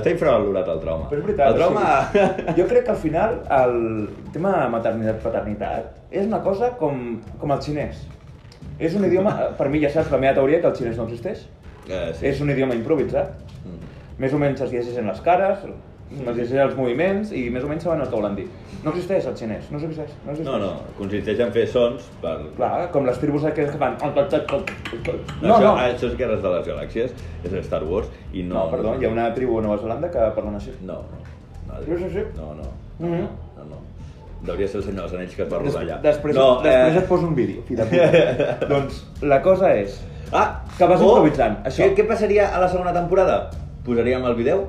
Speaker 1: està infravalorat el trauma.
Speaker 2: Però és veritat.
Speaker 1: El trauma... *laughs*
Speaker 2: o sigui, jo crec que al final el tema de maternitat-paternitat és una cosa com, com el xinès. És un idioma, per mi ja saps la meva teoria que el xinès no existeix.
Speaker 1: Eh, sí.
Speaker 2: És un idioma improvisat.
Speaker 1: Mm.
Speaker 2: Més o menys es llegeixen les cares, es llegeixen els moviments i més o menys saben el que volen dir. No existeix el xinès, no existeix. No, existeix.
Speaker 1: No, no, consisteix en fer sons per...
Speaker 2: Clar, com les tribus aquelles que fan...
Speaker 1: No,
Speaker 2: No,
Speaker 1: això,
Speaker 2: no.
Speaker 1: no. això és Guerres de les Galàxies, és Star Wars, i no...
Speaker 2: No, perdó, hi ha una tribu a Nova Zelanda que parlen així.
Speaker 1: No, no. No,
Speaker 2: Sí, sí, sí.
Speaker 1: no, no,
Speaker 2: Mhm.
Speaker 1: no, no. Deuria ser el senyor dels anells que es va rodar
Speaker 2: Des,
Speaker 1: allà.
Speaker 2: després,
Speaker 1: no, eh.
Speaker 2: després et poso un vídeo, fill de puta.
Speaker 1: *laughs*
Speaker 2: doncs la cosa és...
Speaker 1: Ah,
Speaker 2: que vas improvisant, això.
Speaker 1: Què, què passaria a la segona temporada? Posaríem el vídeo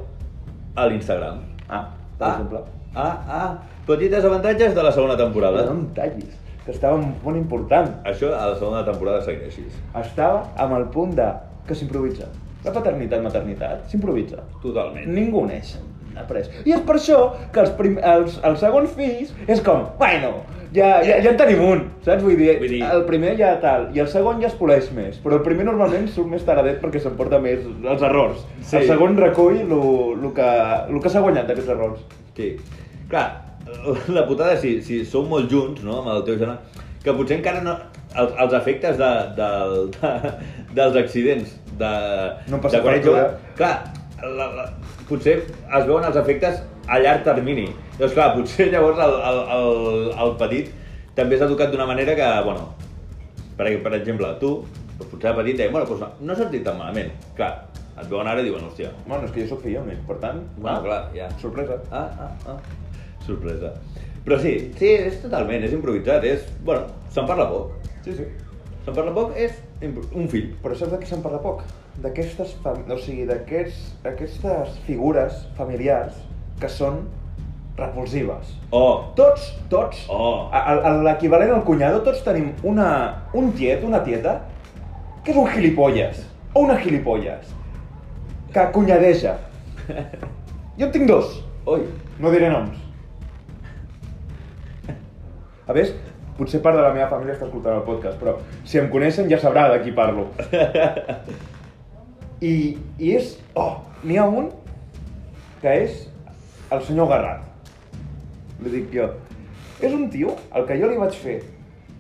Speaker 1: a l'Instagram.
Speaker 2: Ah, per
Speaker 1: ah,
Speaker 2: exemple.
Speaker 1: Ah, ah, petites avantatges de la segona temporada.
Speaker 2: No em tallis, que estava en un punt important.
Speaker 1: Això a la segona temporada segueix així.
Speaker 2: Estava amb el punt de que s'improvisa. La paternitat, maternitat, s'improvisa.
Speaker 1: Totalment.
Speaker 2: Ningú neix après. I és per això que els, prim, els, els segons fills és com, bueno, ja, ja, ja en tenim un, saps? Vull dir,
Speaker 1: Vull dir-
Speaker 2: el primer ja tal, i el segon ja es poleix més, però el primer normalment surt més taradet perquè s'emporta més els errors.
Speaker 1: Sí.
Speaker 2: El segon recull el que, lo que s'ha guanyat d'aquests errors.
Speaker 1: Sí. Clar, la putada, si, si sou molt junts, no?, amb el teu germà, que potser encara no... Els, els efectes de, del, de, dels accidents de,
Speaker 2: No passa eh?
Speaker 1: de quan ets jove...
Speaker 2: factura.
Speaker 1: Clar, la, la, potser es veuen els efectes a llarg termini. Llavors, clar, potser llavors el, el, el, el petit també s'ha educat d'una manera que, bueno, per, per exemple, tu, doncs potser de petit deia, bueno, doncs no, no s'ha dit tan malament. Clar, et veuen ara i diuen, hòstia,
Speaker 2: Bueno, és que jo sóc fill únic, per tant...
Speaker 1: bueno, clar, ja.
Speaker 2: Sorpresa.
Speaker 1: Ah, ah, ah. Sorpresa. Però sí, sí, és totalment, és improvisat, és... Bueno, se'n parla poc.
Speaker 2: Sí, sí.
Speaker 1: Se'n parla poc, és impro- un fill.
Speaker 2: Però saps de què se'n parla poc? D'aquestes fam... o sigui, d'aquests- aquestes figures familiars que són repulsives.
Speaker 1: Oh,
Speaker 2: Tots, tots,
Speaker 1: Oh.
Speaker 2: a- a- a l'equivalent al cunyado, tots tenim una, un tiet, una tieta, que és un gilipolles, o una gilipolles, que conyadeja. Jo en tinc dos,
Speaker 1: Ui,
Speaker 2: no diré noms. A més, potser part de la meva família està escoltant el podcast, però si em coneixen ja sabrà de qui parlo. I, i és... Oh, n'hi ha un que és el senyor Garrat. Li dic jo, és un tio al que jo li vaig fer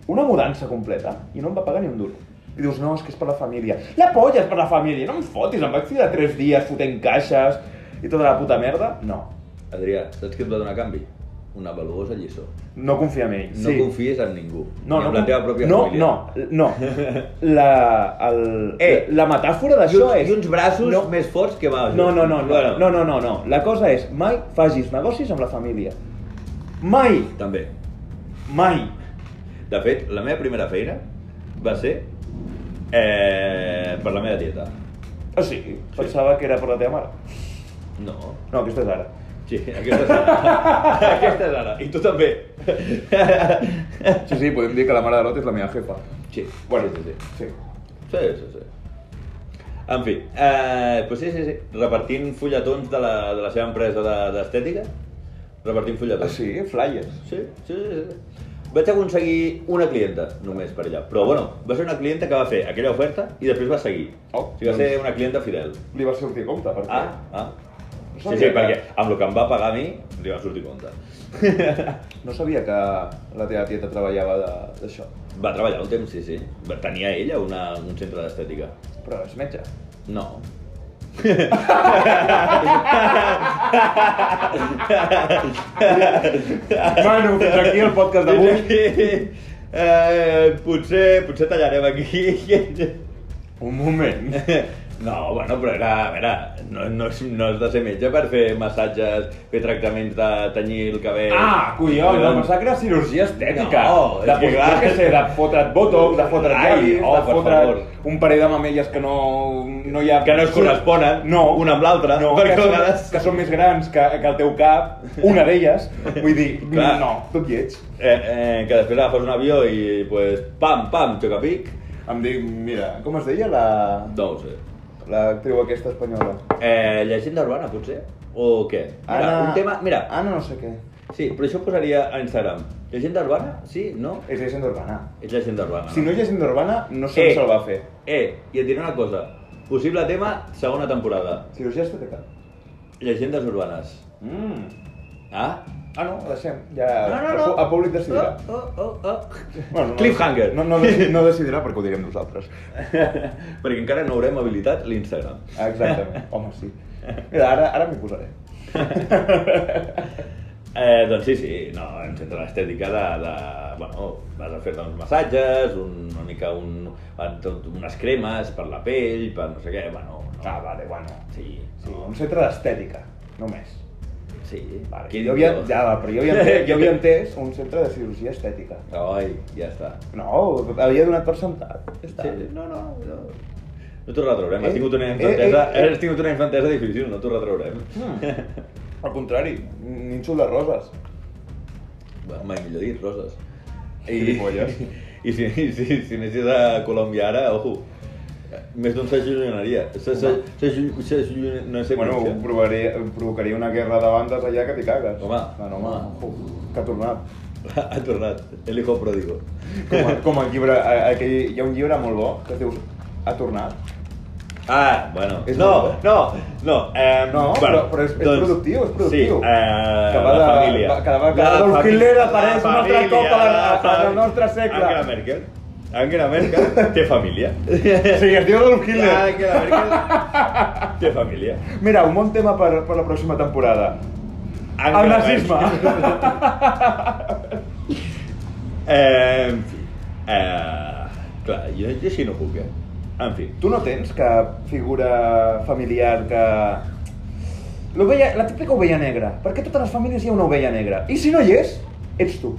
Speaker 2: una mudança completa i no em va pagar ni un duro. I dius, no, és que és per la família. La polla és per la família, no em fotis, em vaig tirar tres dies fotent caixes i tota la puta merda. No,
Speaker 1: Adrià, saps què et va donar a canvi? Una valuosa lliçó.
Speaker 2: no confia en ell.
Speaker 1: No
Speaker 2: sí.
Speaker 1: confies en ningú.
Speaker 2: No,
Speaker 1: ni
Speaker 2: no,
Speaker 1: en la teva pròpia
Speaker 2: no,
Speaker 1: família.
Speaker 2: no, *laughs* no. La, el,
Speaker 1: Eh,
Speaker 2: la metàfora
Speaker 1: I
Speaker 2: d'això
Speaker 1: uns,
Speaker 2: és...
Speaker 1: I uns braços
Speaker 2: No.
Speaker 1: més forts que mals.
Speaker 2: No, no, no, no,
Speaker 1: Bueno,
Speaker 2: no, no, no, no. La cosa és, mai facis negocis amb la família. Mai,
Speaker 1: També.
Speaker 2: mai.
Speaker 1: De fet, la meva primera feina va ser eh, per la meva tieta.
Speaker 2: O sigui, pensava que era per la teva mare.
Speaker 1: No.
Speaker 2: No, aquesta és ara.
Speaker 1: Sí, aquesta és
Speaker 2: *laughs*
Speaker 1: ara. aquesta és ara. I tu també.
Speaker 2: Sí, sí, podem dir que la mare de l'Ot és la meva jefa.
Speaker 1: Sí,
Speaker 2: Bueno,
Speaker 1: sí, sí. sí.
Speaker 2: sí.
Speaker 1: Sí, sí, sí. En fi, eh, doncs sí, sí, sí. repartint fulletons de la, de la seva empresa de- d'estètica. repartint
Speaker 2: Ah,
Speaker 1: fulletons.
Speaker 2: sí, flyers.
Speaker 1: Sí, sí, sí, sí. Vaig aconseguir una clienta només per allà. Però bueno, va ser una clienta que va fer aquella oferta i després va seguir.
Speaker 2: Oh,
Speaker 1: o sigui, va
Speaker 2: doncs.
Speaker 1: ser una clienta fidel.
Speaker 2: Li va sortir a compte, perquè...
Speaker 1: Ah, ah.
Speaker 2: No
Speaker 1: Sí,
Speaker 2: sabia
Speaker 1: sí,
Speaker 2: que-
Speaker 1: perquè amb el que em va pagar a mi li va sortir compte.
Speaker 2: No sabia que la teva tieta treballava de- d'això.
Speaker 1: Va treballar un temps, sí, sí. Va- Tenia ella una, un centre d'estètica.
Speaker 2: Però és metge.
Speaker 1: No.
Speaker 2: Manu, fins aquí el podcast d'avui.
Speaker 1: Eh, potser, potser tallarem aquí.
Speaker 2: Un moment.
Speaker 1: No, bueno, però era, a veure, no, no, és- no has de ser metge per fer massatges, fer tractaments de tenyir el cabell...
Speaker 2: Ah, collons, la massacre és cirurgia estètica.
Speaker 1: No,
Speaker 2: de
Speaker 1: és que
Speaker 2: posar,
Speaker 1: clar.
Speaker 2: què sé, de fotre't botox, de fotre't
Speaker 1: Ai,
Speaker 2: llavis,
Speaker 1: oh,
Speaker 2: de
Speaker 1: per favor.
Speaker 2: fotre't un parell de mamelles que no, no hi ha...
Speaker 1: Que no es corresponen,
Speaker 2: No.
Speaker 1: una amb l'altra,
Speaker 2: No, que,
Speaker 1: perquè a
Speaker 2: són,
Speaker 1: vegades-
Speaker 2: que són més grans que, que el teu cap, una d'elles. Vull dir,
Speaker 1: Clar.
Speaker 2: no, tot lleig.
Speaker 1: Eh, eh, que després agafes un avió i, pues, pam, pam, xocapic. eh.
Speaker 2: Em dic, mira, com es deia la...
Speaker 1: No ho sé.
Speaker 2: L'actriu aquesta espanyola?
Speaker 1: Eh, llegenda urbana, potser? O què? Mira, un tema... Mira,
Speaker 2: Anna no sé què.
Speaker 1: sí, però això ho posaria a Instagram. Llegenda urbana? Sí? No?
Speaker 2: És llegenda urbana.
Speaker 1: És llegenda urbana.
Speaker 2: Si no és llegenda urbana, no sé eh. se'l va fer.
Speaker 1: Eh, i et diré una cosa. Possible tema, segona temporada.
Speaker 2: Cirurgia estètica.
Speaker 1: Llegendes urbanes.
Speaker 2: Mm.
Speaker 1: Ah?
Speaker 2: Ah, no, ho deixem. Ja... Eh, El, pu- el públic decidirà.
Speaker 1: Oh, oh, oh, oh.
Speaker 2: Bueno, no,
Speaker 1: Cliffhanger.
Speaker 2: No, no, deci- no decidirà perquè ho direm nosaltres.
Speaker 1: *laughs* Perquè encara no haurem habilitat l'Instagram.
Speaker 2: *laughs* Exactament. Home, sí. Mira, ara, ara m'hi posaré.
Speaker 1: Eh, doncs sí, sí, no, un centre d'estètica de, de... Bueno, vas a fer-te uns massatges, un, una mica un, un, tot- unes cremes per la pell, per no sé què, bueno... No.
Speaker 2: Ah, vale, bueno.
Speaker 1: Sí,
Speaker 2: Sí,
Speaker 1: no,
Speaker 2: un centre d'estètica, només.
Speaker 1: sí.
Speaker 2: Vale.
Speaker 1: Quin
Speaker 2: Jo havia,
Speaker 1: dolor.
Speaker 2: ja, va, però jo havia,
Speaker 1: *laughs*
Speaker 2: entès, *laughs* jo havia entès un centre de cirurgia estètica.
Speaker 1: Ai, ja està.
Speaker 2: No, havia donat per sentat. Ja està.
Speaker 1: Sí, no, no, no. No t'ho retraurem,
Speaker 2: Eh,
Speaker 1: has tingut una
Speaker 2: eh,
Speaker 1: infantesa,
Speaker 2: eh, eh.
Speaker 1: has tingut una infantesa difícil, no t'ho retraurem.
Speaker 2: *laughs* Mm. Al contrari, nínxol de roses.
Speaker 1: Bueno, mai millor dit, roses.
Speaker 2: *laughs* Gilipolles.
Speaker 1: I si, i si, si anessis a Colòmbia ara, ojo, més d'un s'allunyaria. Se- se- s'allu- s'allu- No sé
Speaker 2: Bueno,
Speaker 1: pronunciar.
Speaker 2: provaré, provocaria una guerra de bandes allà que t'hi cagues.
Speaker 1: Home.
Speaker 2: No, no, home. Uf, que ha tornat.
Speaker 1: *laughs* Ha tornat, el hijo pròdigo.
Speaker 2: Com, el- com el llibre, eh, aquell, hi ha un llibre molt bo que es diu Ha tornat.
Speaker 1: Ah, bueno.
Speaker 2: És
Speaker 1: No,
Speaker 2: molt
Speaker 1: no, no. Eh,
Speaker 2: No, però- però és- és productiu, és productiu.
Speaker 1: Sí, eh,
Speaker 2: Que va
Speaker 1: la
Speaker 2: de-
Speaker 1: família.
Speaker 2: va- que va- que
Speaker 1: La
Speaker 2: Adolf
Speaker 1: famí-
Speaker 2: Hitler
Speaker 1: la
Speaker 2: apareix un altre
Speaker 1: família,
Speaker 2: cop a la-
Speaker 1: la
Speaker 2: al
Speaker 1: fam-
Speaker 2: nostre segle.
Speaker 1: Angela Merkel. Angela Merkel té
Speaker 2: *laughs*
Speaker 1: família.
Speaker 2: Sí, es diu Adolf Hitler.
Speaker 1: Angela Merkel té família.
Speaker 2: Mira, un bon tema per, per la pròxima temporada. El
Speaker 1: Angela
Speaker 2: nazisme.
Speaker 1: Merkel.
Speaker 2: *laughs*
Speaker 1: Eh, en fi. Eh, clar, jo, jo així no puc, eh? En fi.
Speaker 2: Tu no tens cap figura familiar que... L'ovella, la típica ovella negra. Per què a totes les famílies hi ha una ovella negra? I si no hi és, ets tu.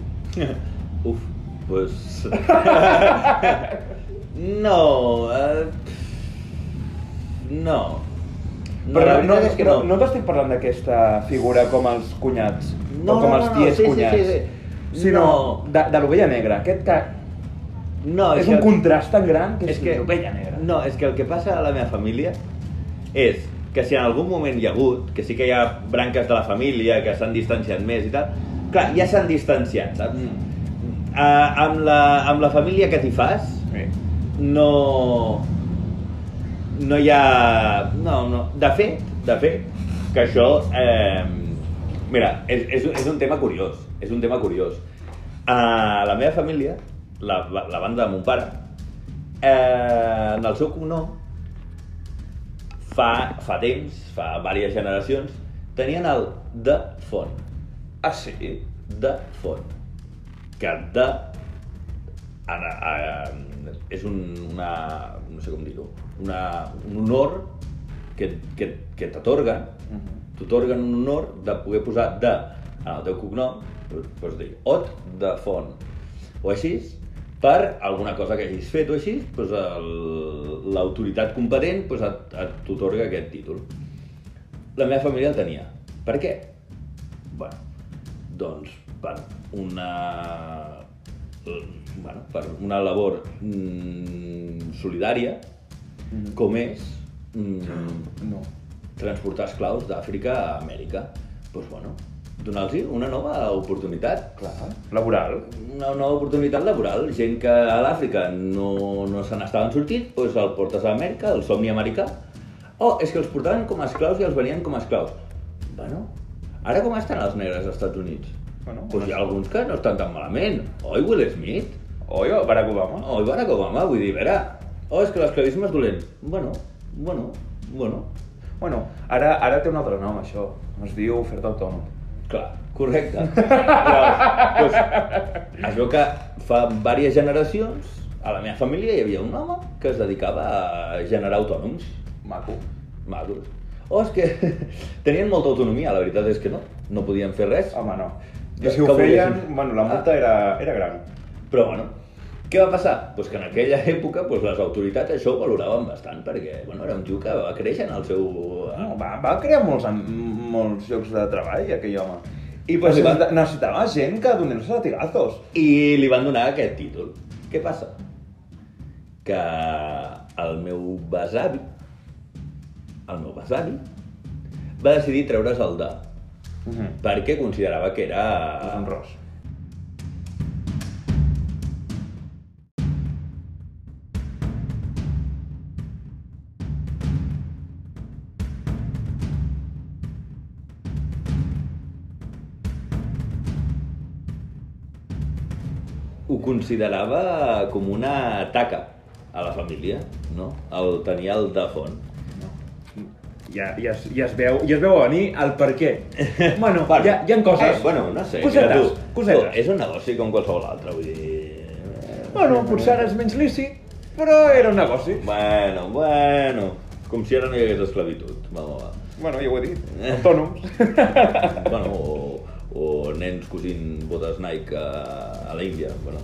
Speaker 1: *laughs* Uf,
Speaker 2: *laughs*
Speaker 1: pues... no, eh... No.
Speaker 2: Però
Speaker 1: la
Speaker 2: no, no,
Speaker 1: veritat és que
Speaker 2: no, no t'estic parlant d'aquesta figura com els cunyats.
Speaker 1: No,
Speaker 2: o com
Speaker 1: no,
Speaker 2: els
Speaker 1: no, no,
Speaker 2: tiets
Speaker 1: sí, sí,
Speaker 2: cunyats.
Speaker 1: sí, sí.
Speaker 2: Sinó
Speaker 1: No.
Speaker 2: de, de l'ovella negra. Aquest que
Speaker 1: No,
Speaker 3: és un
Speaker 1: que-
Speaker 3: contrast tan gran que
Speaker 1: és
Speaker 3: és,
Speaker 1: que,
Speaker 3: l'ovella negra.
Speaker 1: No, és que el que passa a la meva família és que si en algun moment hi ha hagut, que sí que hi ha branques de la família que s'han distanciat més i tal, clar, ja s'han distanciat, saps?
Speaker 3: Mm.
Speaker 1: Uh, amb, la, amb la família que t'hi fas,
Speaker 3: Sí.
Speaker 1: Mm. no... No hi ha... No, no. De fet, de fet, que això... Eh, mira, és, és, un- és un tema curiós. És un tema curiós. A la meva família, la, la, la banda de mon pare, eh, en el seu cognom, fa, fa temps, fa diverses generacions, tenien el de font.
Speaker 3: Ah, sí?
Speaker 1: De font. Que de a, a, a, és un, una, no sé com dir-ho, una, un honor que, que, que t'atorguen,
Speaker 2: Mm.
Speaker 1: t'atorguen un honor de poder posar de en el teu cognom, pots dir ot de font, o així, per alguna cosa que hagis fet o així, doncs el- l'autoritat competent doncs et- et- t'otorga aquest títol. La meva família el tenia. Per què? Bueno, doncs per una... Bueno, per una labor mm, solidària, com és mm,
Speaker 2: No.
Speaker 1: transportar esclaus d'Àfrica a Amèrica. Doncs pues, bueno, donar-los una nova oportunitat.
Speaker 3: Clar.
Speaker 2: Laboral.
Speaker 1: Una nova oportunitat laboral. Gent que a l'Àfrica no, no se n'estaven sortint, doncs el portes a Amèrica, el somni americà. Oh, és que els portaven com a esclaus i els venien com a esclaus. Bueno, ara com estan els negres als Estats Units?
Speaker 2: Bueno,
Speaker 1: doncs hi ha alguns que no estan tan malament. Oi, Will Smith?
Speaker 2: Oi, Barack Obama.
Speaker 1: Oi, Barack Obama? Vull dir, a veure... Oh, és que l'esclavisme és dolent. Bueno, bueno, bueno...
Speaker 2: Bueno, ara, ara té un altre nom, això. Es diu oferta autònoma.
Speaker 1: Clar, correcte. Llavors, doncs, es veu que fa diverses generacions a la meva família hi havia un home que es dedicava a generar autònoms
Speaker 2: Maco.
Speaker 1: maduros. O és que *laughs* tenien molta autonomia, la veritat és que no, no podien fer res.
Speaker 2: Home, no. I
Speaker 1: Que-
Speaker 2: si ho Ah.
Speaker 1: que
Speaker 2: feien,
Speaker 1: volien-
Speaker 2: bueno, la multa era, era gran.
Speaker 1: Però bueno, què va passar? Pues que en aquella època pues, les autoritats això ho valoraven bastant, perquè bueno, era un tio que va créixer en el seu...
Speaker 2: No, va, va crear molts, am- molts llocs de treball, aquell home. I pues,
Speaker 1: Sí.
Speaker 2: necessita- necessitava gent que donés-se a tigazos.
Speaker 1: I li van donar aquest títol. Què passa? Que el meu besavi, el meu besavi, va decidir treure's el de,
Speaker 2: Uh -huh.
Speaker 1: perquè considerava que era...
Speaker 2: És un ros.
Speaker 1: Ho considerava com una taca a la família, no? El tenia el de font.
Speaker 2: Ja, ja, es, ja, es veu, ja es veu a venir el per què. *laughs* Bueno,
Speaker 1: Bueno,
Speaker 2: hi, ha, hi ha coses.
Speaker 1: Eh, bueno, no sé.
Speaker 2: Cosetes,
Speaker 1: mira tu,
Speaker 2: cosetes.
Speaker 1: tu, És un negoci com qualsevol altre, vull eh, dir...
Speaker 2: Bueno, potser ara és menys lícit, però era un negoci.
Speaker 1: Bueno, bueno... Com si ara no hi hagués esclavitud. Va, va, va.
Speaker 2: Bueno, ja ho he dit. Autònoms.
Speaker 1: bueno, o, o nens cosint botes Nike a, a l'Índia, bueno,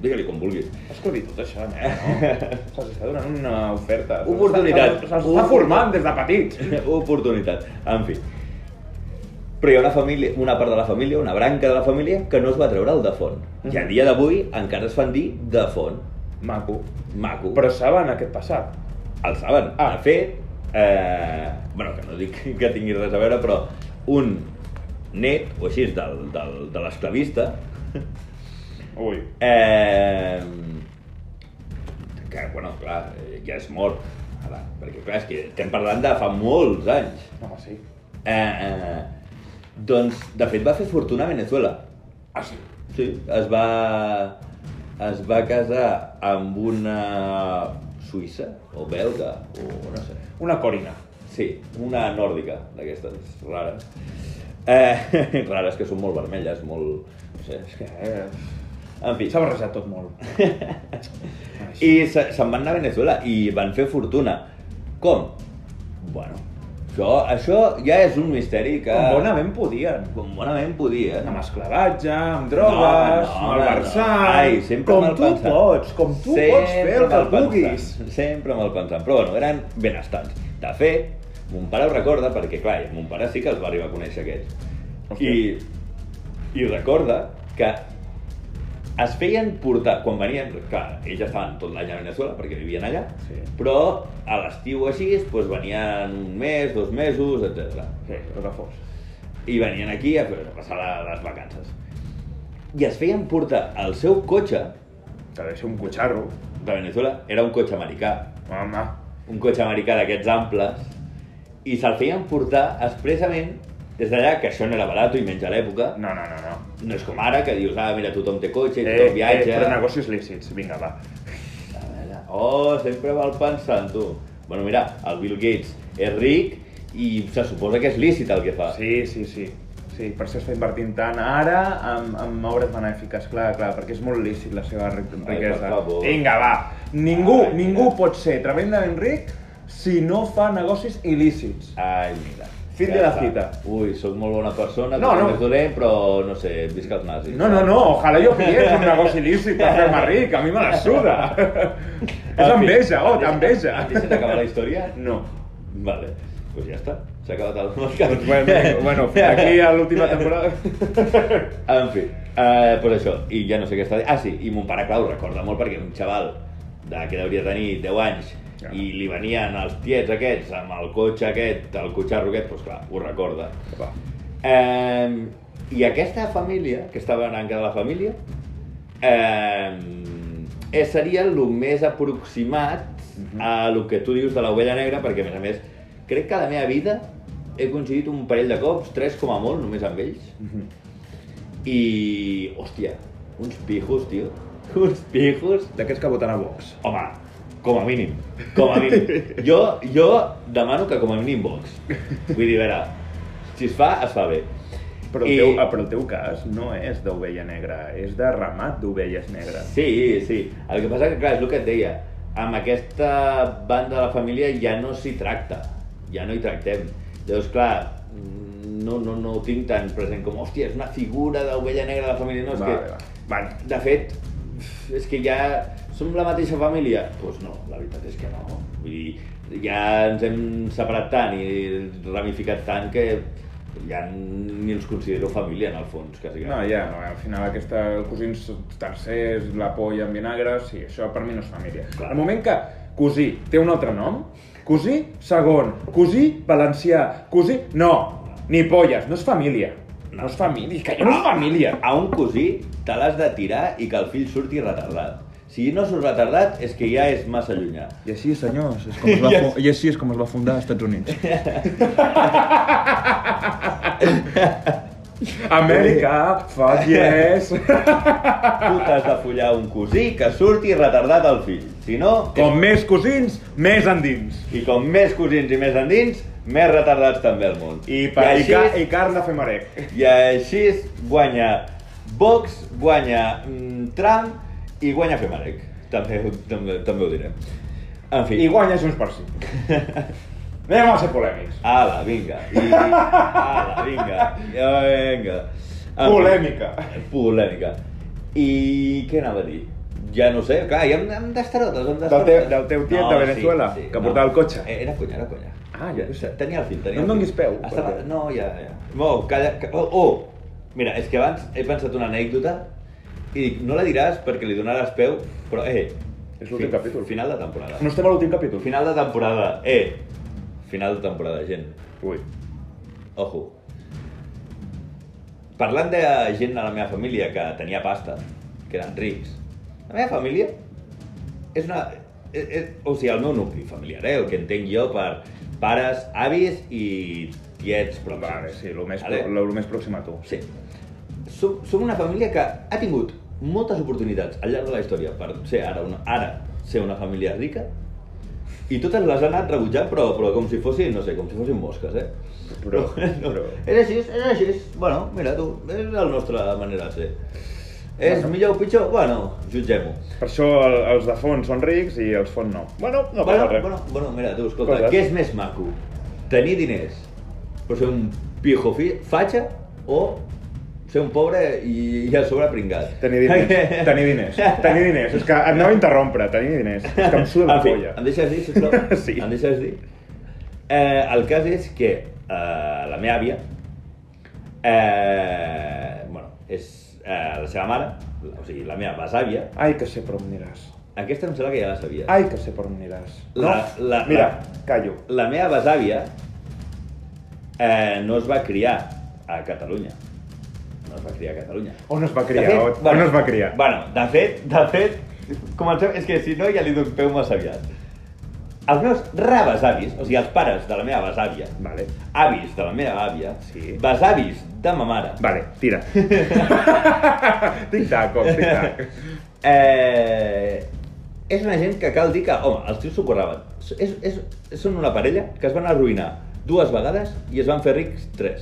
Speaker 1: digue-li com vulguis.
Speaker 2: Esclavitud, això, no? Se'ls està donant una oferta.
Speaker 1: Oportunitat.
Speaker 2: Se'ls està formant des de petits.
Speaker 1: Oportunitat, en fi. Però hi ha una, família, una part de la família, una branca de la família, que no es va treure el de font. I a dia d'avui encara es fan dir de font.
Speaker 2: Maco.
Speaker 1: Maco.
Speaker 2: Però saben aquest passat.
Speaker 1: El saben.
Speaker 2: Ah.
Speaker 1: Ah. De fet, eh, bueno, que no dic que tingui res a veure, però un net, o així, del, del, de l'esclavista,
Speaker 2: Ui.
Speaker 1: Eh, que, bueno, clar, eh, ja és mort. Ara, perquè, clar, és que estem parlant de fa molts anys.
Speaker 2: No, sí.
Speaker 1: Eh, eh, doncs, de fet, va fer fortuna a Venezuela.
Speaker 2: Ah, sí.
Speaker 1: Sí, es va... Es va casar amb una suïssa, o belga, o no sé.
Speaker 2: Una corina.
Speaker 1: Sí, una nòrdica, d'aquestes rares. Eh, *laughs* rares que són molt vermelles, molt... No sé, és que...
Speaker 2: Eh,
Speaker 1: En fi.
Speaker 2: S'ha barrejat tot molt. *laughs* I...
Speaker 1: I se- se'n van anar a Venezuela i van fer fortuna. Com? Bueno, això, això ja és un misteri que...
Speaker 2: Com bonament podien.
Speaker 1: com bonament podia. eh?
Speaker 2: Amb esclavatge, amb drogues,
Speaker 1: No,
Speaker 2: no,
Speaker 1: no,
Speaker 2: no, malversant...
Speaker 1: no. Ai, sempre
Speaker 2: com tu
Speaker 1: malpensant.
Speaker 2: pots, com tu pots fer el que
Speaker 1: malpensant,
Speaker 2: vulguis.
Speaker 1: Sempre mal pensant, però bueno, eren benestants. De fet, mon pare ho recorda perquè, clar, mon pare sí que els va arribar a conèixer aquests.
Speaker 2: Hòstia.
Speaker 1: I, I recorda que es feien portar, quan venien, clar, ells estaven tot l'any a Venezuela perquè vivien allà,
Speaker 2: Sí.
Speaker 1: però a l'estiu així doncs, venien un mes, dos mesos, etc.
Speaker 2: Sí, el que fos.
Speaker 1: I venien aquí a, fer- a passar la, les vacances. I es feien portar el seu cotxe
Speaker 2: Que deu ser un cotxarro.
Speaker 1: de Venezuela, era un cotxe americà,
Speaker 2: Home,
Speaker 1: un cotxe americà d'aquests amples, i se'l feien portar expressament des d'allà, que això no era barat i menys a l'època,
Speaker 2: no, no, no, no.
Speaker 1: no és com ara, que dius, ah, mira, tothom té cotxe, tothom viatja...
Speaker 2: Eh, però negocis lícits, vinga, va.
Speaker 1: A veure, Oh, sempre val pensant, tu. Bueno, mira, el Bill Gates és ric i se suposa que és lícit el que fa.
Speaker 2: Sí, sí, sí. Sí, per això està invertint tant ara en, en obres benèfiques, clar, clar, perquè és molt lícit la seva ric-
Speaker 1: per
Speaker 2: riquesa.
Speaker 1: favor.
Speaker 2: Vinga, va. Ningú,
Speaker 1: Ai,
Speaker 2: ningú
Speaker 1: mira.
Speaker 2: pot ser tremendament ric si no fa negocis il·lícits.
Speaker 1: Ai, mira.
Speaker 2: Fin
Speaker 1: Ja
Speaker 2: de la
Speaker 1: està.
Speaker 2: cita.
Speaker 1: Ui, sóc molt bona persona,
Speaker 2: No,
Speaker 1: no,
Speaker 2: no.
Speaker 1: no. dolent, però no sé, visca els nazis.
Speaker 2: No, no, no, ojalà jo pillés un negoci il·lícit per fer-me ric, a mi me la suda.
Speaker 1: *laughs*
Speaker 2: és
Speaker 1: En fi,
Speaker 2: enveja,
Speaker 1: em
Speaker 2: oh,
Speaker 1: deixa-
Speaker 2: t'enveja.
Speaker 1: *laughs* Em deixes acabar la història?
Speaker 2: No.
Speaker 1: Vale, doncs pues ja està. S'ha acabat el podcast.
Speaker 2: Doncs *laughs* bueno, bueno, fins aquí a l'última temporada.
Speaker 1: *laughs* En fi, eh, pues això, i ja no sé què està... Ah, sí, i mon pare, clar, ho recorda molt perquè un xaval de, que devia tenir 10 anys
Speaker 2: Clar.
Speaker 1: i li venien els tiets aquests amb el cotxe aquest, el cotxarro aquest, doncs clar, ho recorda.
Speaker 2: Va.
Speaker 1: Eh, I aquesta família, que estava en encara la família, eh, eh, seria el més aproximat a el que tu dius de l'ovella negra, perquè a més a més, crec que a la meva vida he coincidit un parell de cops, tres com a molt, només amb ells,
Speaker 2: Mhm.
Speaker 1: i, hòstia, uns pijos, tio. *laughs* Uns pijos.
Speaker 2: D'aquests que voten a Vox.
Speaker 1: Home, com a mínim. Com a mínim. Jo, jo demano que com a mínim Vox. Vull dir, a veure, si es fa, es fa bé.
Speaker 2: Però el, I... teu, ah, però el teu cas no és d'ovella negra, és de ramat d'ovelles negres.
Speaker 1: Sí, sí. El que passa que, clar, és el que et deia. Amb aquesta banda de la família ja no s'hi tracta. Ja no hi tractem. Llavors, clar, no, no, no ho tinc tan present com, hòstia, és una figura d'ovella negra de la família. No, és que...
Speaker 2: Bueno,
Speaker 1: De fet, és que ja som la mateixa família. Doncs pues no, la veritat és que no. Vull dir, ja ens hem separat tant i ramificat tant que ja ni els considero família, en el fons, quasi.
Speaker 2: no, ja, no, al final aquesta cosins tercers, la polla amb vinagre, sí, això per mi no és família.
Speaker 1: Clar.
Speaker 2: Al moment que cosí té un altre nom, cosí segon, cosí valencià, cosí... No, ni polles, no és família. No, és família, que no és família.
Speaker 1: A un cosí te l'has de tirar i que el fill surti retardat. Si no surt retardat és que ja és massa llunyà.
Speaker 2: I així, senyors, és com
Speaker 1: *laughs*
Speaker 2: es va, fu- i així és com es va fundar als Estats Units. Amèrica, fuck yes!
Speaker 1: Tu t'has de follar un cosí que surti retardat al fill. Si no,
Speaker 2: *laughs* Com més cosins, més endins.
Speaker 1: i com més cosins i més endins, més retardats també al món.
Speaker 2: I, per, i,
Speaker 1: així,
Speaker 2: ca, i carn de fer marec.
Speaker 1: I així guanya Vox, guanya mm, Trump i guanya Femarec. També, també, també ho direm. En fi.
Speaker 2: I guanya Junts per
Speaker 1: *laughs*
Speaker 2: sí. Anem a ser polèmics.
Speaker 1: Ala, vinga. I... Ala,
Speaker 2: *laughs*
Speaker 1: vinga. I- Vinga. En fi,
Speaker 2: Polèmica.
Speaker 1: Polèmica. I què anava a dir? Ja no sé, clar, ja hem, hem d'estarotes, hem
Speaker 2: Del
Speaker 1: d'estarotes.
Speaker 2: teu- del teu tiet de Venezuela, que portava el cotxe.
Speaker 1: Eh, Era conya, era conya.
Speaker 2: Ah, jo què sé.
Speaker 1: Tenia el fill, tenia
Speaker 2: No em
Speaker 1: el
Speaker 2: donis
Speaker 1: fill.
Speaker 2: peu,
Speaker 1: Estava...
Speaker 2: perquè-
Speaker 1: No, ja, ja. No, calla... ca- Oh, oh, mira, és que abans he pensat una anècdota i dic, no la diràs perquè li donaràs peu, però eh...
Speaker 2: És l'últim
Speaker 1: fi-
Speaker 2: capítol.
Speaker 1: Final de temporada.
Speaker 2: No estem a l'últim capítol.
Speaker 1: Final de temporada, eh! Final de temporada, gent.
Speaker 2: Ui.
Speaker 1: Ojo. Parlant de gent de la meva família que tenia pasta, que eren rics, la meva família és una... És, és, o sigui, el meu nucli familiar, eh? el que entenc jo per pares, avis i tiets pròxims.
Speaker 2: Vale, sí, el més,
Speaker 1: Vale?
Speaker 2: pro- lo, lo més pròxim
Speaker 1: *laughs*
Speaker 2: a tu.
Speaker 1: Sí. Som, som una família que ha tingut moltes oportunitats al llarg de la història per ser ara una, ara ser una família rica i totes les ha anat rebutjant, però, però com si fossin, no sé, com si fossin mosques, eh?
Speaker 2: Però-
Speaker 1: *laughs* no,
Speaker 2: però-
Speaker 1: És així, és així. Bueno, mira tu, és la nostra manera de ser. És millor o pitjor? Bueno, jutgem-ho.
Speaker 2: Per això el, els de fons són rics i els fons no. Bueno, no passa
Speaker 1: bueno,
Speaker 2: res.
Speaker 1: bueno, bueno, mira tu, escolta,
Speaker 2: Coses.
Speaker 1: què és més maco? Tenir diners, però ser un pijo fi, fatxa o ser un pobre i, i a sobre pringat?
Speaker 2: Tenir
Speaker 1: *laughs*
Speaker 2: diners, tenir diners, tenir diners. És que et anava a interrompre, tenir diners. És que em suda la
Speaker 1: en fi,
Speaker 2: polla.
Speaker 1: em deixes dir, sisplau?
Speaker 2: *laughs* Sí.
Speaker 1: Em deixes dir? Eh, el cas és que eh, la meva àvia, eh, bueno, és eh, la seva mare, o sigui, la meva besàvia,
Speaker 2: Ai, que sé per on aniràs.
Speaker 1: aquesta em sembla que ja la sabia.
Speaker 2: Ai, que sé per on aniràs. No?
Speaker 1: La- la-
Speaker 2: Mira,
Speaker 1: la-
Speaker 2: callo.
Speaker 1: La meva besàvia eh, no es va criar a Catalunya. No es va criar a Catalunya.
Speaker 2: On es va criar?
Speaker 1: De
Speaker 2: On, on es va criar?
Speaker 1: Bueno, de fet, de fet, comencem... És que si no ja li dono peu massa aviat. Els meus rebesavis, o sigui, els pares de la meva besàvia,
Speaker 2: Vale.
Speaker 1: avis de la meva àvia,
Speaker 2: Sí.
Speaker 1: besavis de ma mare,
Speaker 2: Vale,
Speaker 1: *laughs*
Speaker 2: tira. tic-tac, com tic-tac.
Speaker 1: Eh, és una gent que cal dir que, home, els tios s'ho curraven. És, és, són una parella que es van arruïnar dues vegades i es van fer rics tres.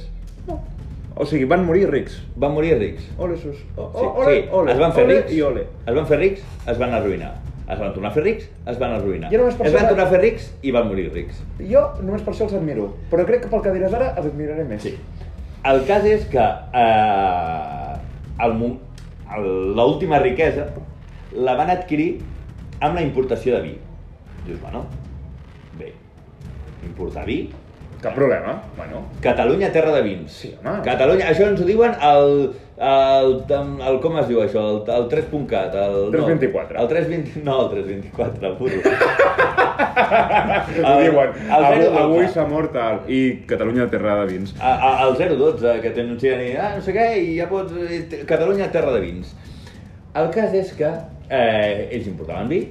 Speaker 2: O sigui, van morir rics.
Speaker 1: Van morir rics.
Speaker 2: Ole, sus. O,
Speaker 1: Sí,
Speaker 2: o, ole,
Speaker 1: sí,
Speaker 2: ole,
Speaker 1: es van fer
Speaker 2: ole
Speaker 1: rics,
Speaker 2: i ole.
Speaker 1: es van fer rics, es van arruïnar. Es van tornar a fer rics, es van arruïnar.
Speaker 2: Jo només per
Speaker 1: Es van
Speaker 2: saber-
Speaker 1: tornar a fer rics i van morir rics.
Speaker 2: Jo només per això els admiro, però crec que pel que diràs ara els admiraré més.
Speaker 1: Sí. El cas és que eh, el mo- el- l'última riquesa la van adquirir amb la importació de vi. Dius, bueno, bé, importar vi?
Speaker 2: Cap problema. Bueno,
Speaker 1: Catalunya, terra de vins.
Speaker 2: Sí, home.
Speaker 1: Catalunya, això ens ho diuen el, el, el, el com es diu això, el, el 3.cat, el...
Speaker 2: 3.24.
Speaker 1: No, el 3.20, no, el 3.24, burro.
Speaker 2: el,
Speaker 1: El-
Speaker 2: *laughs* diuen,
Speaker 1: el
Speaker 2: avui,
Speaker 1: 012.
Speaker 2: avui s'ha mort el... I Catalunya terra de vins.
Speaker 1: A- a- al 012, que t'anuncien i ah, no sé què, i ja pots... eh, t- Catalunya, terra de vins. El cas és que eh, ells importaven vi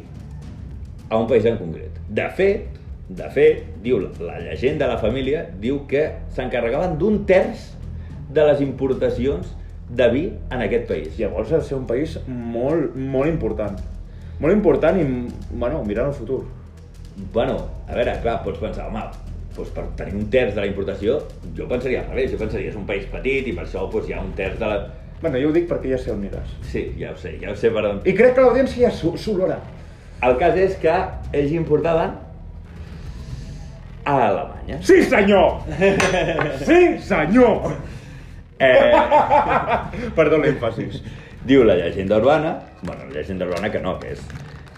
Speaker 1: a un país en concret. De fet, de fet, diu la, la llegenda de la família, diu que s'encarregaven d'un terç de les importacions de vi en aquest país.
Speaker 2: Llavors ha de ser un país molt, molt important. Molt important i, bueno, mirant el futur.
Speaker 1: Bueno, a veure, clar, pots pensar, home, doncs per tenir un terç de la importació, jo pensaria al revés, jo pensaria és un país petit i per això doncs, hi ha un terç de la...
Speaker 2: Bueno, jo ho dic perquè ja sé on aniràs.
Speaker 1: Sí, ja ho sé, ja ho sé per on...
Speaker 2: I crec que l'audiència ja s'ho- s'olora.
Speaker 1: El cas és que ells importaven a Alemanya.
Speaker 2: Sí, senyor! Sí, senyor!
Speaker 1: Eh,
Speaker 2: Perdó l'èmfasis.
Speaker 1: diu la llegenda urbana, bueno, la llegenda urbana que no, que és...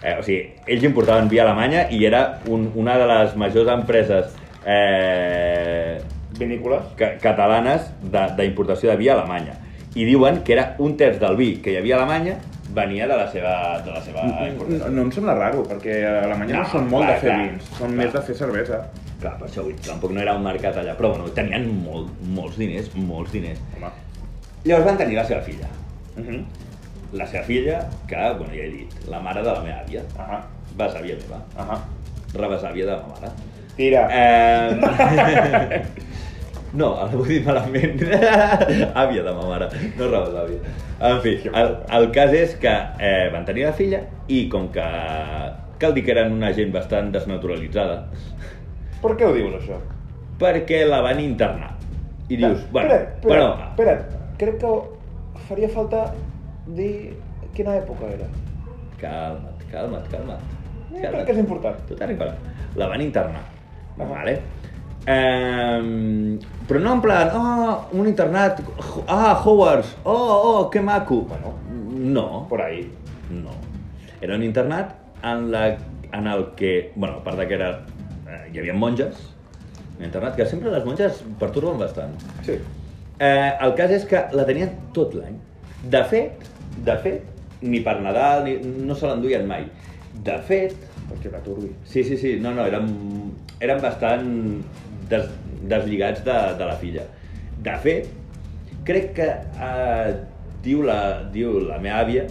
Speaker 1: Eh, o sigui, ells importaven via Alemanya i era un, una de les majors empreses eh,
Speaker 2: Vinícoles?
Speaker 1: ca catalanes de- d'importació de, vi a Alemanya. I diuen que era un terç del vi que hi havia a Alemanya venia de la seva, de la seva importació.
Speaker 2: Ah, No, no em sembla raro, perquè a Alemanya no,
Speaker 1: Mm, No,
Speaker 2: són molt
Speaker 1: clar,
Speaker 2: de fer
Speaker 1: clar.
Speaker 2: vins, són
Speaker 1: Clar.
Speaker 2: més de fer cervesa.
Speaker 1: Clar, per això vull dir, tampoc no era un mercat allà, però bueno, tenien molt, molts diners, molts diners.
Speaker 2: Home.
Speaker 1: Llavors van tenir la seva filla.
Speaker 2: Uh -huh.
Speaker 1: La seva filla, que, bueno, ja he dit, la mare de la meva àvia.
Speaker 2: Ahà,
Speaker 1: Besàvia meva.
Speaker 2: ahà.
Speaker 1: Rebesàvia de ma mare.
Speaker 2: Tira.
Speaker 1: Eh... *laughs* No, ara ho he dit malament. *laughs* Àvia de ma mare, no rebesàvia. En fi, el, el cas és que eh, van tenir la filla i com que cal dir que eren una gent bastant desnaturalitzada,
Speaker 2: Per què ho dius, això?
Speaker 1: perquè la van internar. I dius,
Speaker 2: Espera,
Speaker 1: bueno,
Speaker 2: espera,
Speaker 1: bueno,
Speaker 2: espera't. crec que faria falta dir quina època era.
Speaker 1: calma't, calma't, calma't.
Speaker 2: Eh,
Speaker 1: calma't.
Speaker 2: crec que és important.
Speaker 1: Tot arribarà. La van internar.
Speaker 2: Ah.
Speaker 1: Vale? Um, però no en plan, oh, un internat, ah, Hogwarts, oh, oh, que maco.
Speaker 2: Bueno.
Speaker 1: no,
Speaker 2: Por ahí.
Speaker 1: no. Era un internat en, la, en el que, bueno, a part de que era, eh, hi havia monges, un internat que sempre les monges perturben bastant.
Speaker 2: Sí.
Speaker 1: Eh, el cas és que la tenien tot l'any. De fet, de fet, ni per Nadal, ni, no se l'enduien mai. De fet,
Speaker 2: Hòstia, que turbi.
Speaker 1: Sí, sí, sí, no, no, eren, eren bastant des, deslligats de, de la filla. De fet, crec que eh, diu, la, diu la meva àvia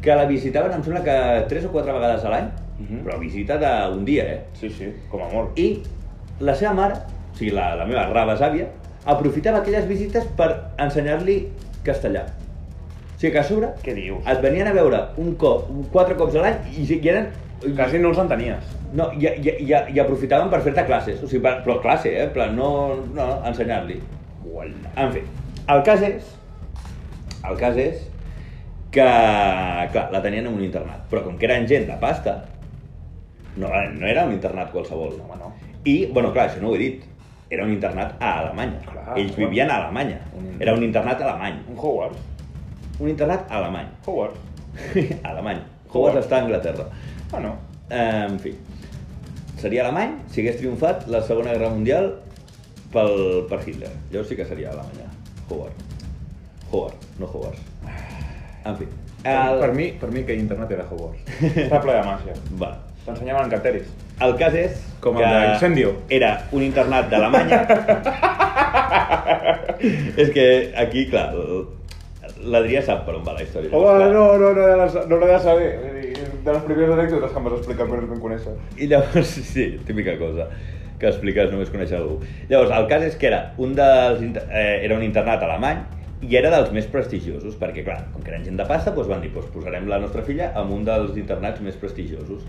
Speaker 1: que la visitaven, em sembla que tres o quatre vegades a l'any,
Speaker 2: Mhm.
Speaker 1: però visita d'un dia, eh?
Speaker 2: Sí, sí, com a molt. I...
Speaker 1: I la seva mare, o sigui, la, la meva rebesàvia, aprofitava aquelles visites per ensenyar-li castellà. O sigui que a sobre
Speaker 2: Què dius?
Speaker 1: et venien a veure un cop, quatre cops a l'any i, i eren
Speaker 2: Quasi no els entenies.
Speaker 1: no, i, i, i, i aprofitaven per fer-te classes, o sigui, per, però classe, eh? En plan, no, no, ensenyar-li.
Speaker 2: Uala.
Speaker 1: En fi, el cas és... El cas és que, clar, la tenien en un internat, però com que eren gent de pasta, no, no era un internat qualsevol.
Speaker 2: Home, no.
Speaker 1: I, bueno, clar, això no ho he dit, era un internat a Alemanya.
Speaker 2: Clar,
Speaker 1: Ells
Speaker 2: clar.
Speaker 1: vivien a Alemanya.
Speaker 2: Un-
Speaker 1: Era un internat alemany.
Speaker 2: Un Hogwarts.
Speaker 1: Un internat alemany. *laughs*
Speaker 2: Hogwarts.
Speaker 1: alemany. Hogwarts està a Anglaterra.
Speaker 2: Bueno.
Speaker 1: Eh, en fi, seria alemany si hagués triomfat la Segona Guerra Mundial pel, per Hitler. Llavors sí que seria Alemanya. Howard. Howard, no Howard. En fi.
Speaker 2: El...
Speaker 1: El...
Speaker 2: Per, mi, per mi que internet era
Speaker 1: *laughs*
Speaker 2: Hogwarts. Està ple de màgia.
Speaker 1: Va.
Speaker 2: T'ensenyaven encanteris.
Speaker 1: El cas és
Speaker 2: Com el de Incendio.
Speaker 1: era un internat
Speaker 2: *laughs*
Speaker 1: d'Alemanya. és que aquí, clar, l'Adrià sap per on va la història.
Speaker 2: Oh,
Speaker 1: clar.
Speaker 2: no, no, no, no, no, no l'he de saber. Vull dir, De les primeres anècdotes que em vas explicar quan ens vam conèixer.
Speaker 1: I llavors, *laughs* sí, típica cosa que expliques només conèixer algú. Llavors, el cas és que era un, dels, inter- eh, era un internat alemany i era dels més prestigiosos, perquè, clar, com que eren gent de pasta, doncs van dir, doncs posarem la nostra filla en un dels internats més prestigiosos.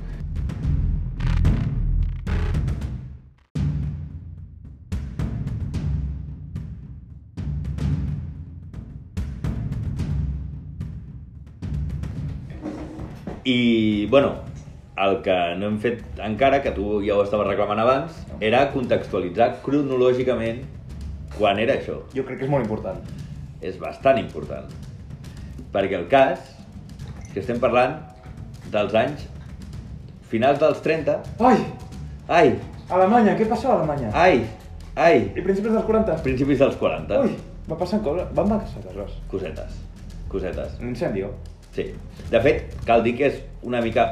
Speaker 1: I, bueno, el que no hem fet encara, que tu ja ho estaves reclamant abans, era contextualitzar cronològicament quan era això.
Speaker 2: Jo crec que és molt important.
Speaker 1: És bastant important. Perquè el cas és que estem parlant dels anys finals dels 30.
Speaker 3: Ai!
Speaker 1: Ai,
Speaker 3: Alemanya, què passa a Alemanya?
Speaker 1: ai, ai,
Speaker 2: I principis dels 40.
Speaker 1: principis dels 40.
Speaker 2: Ui, va passant coses. Van passar coses.
Speaker 1: Cosetes, cosetes.
Speaker 2: Un incendio.
Speaker 1: Sí. De fet, cal dir que és una mica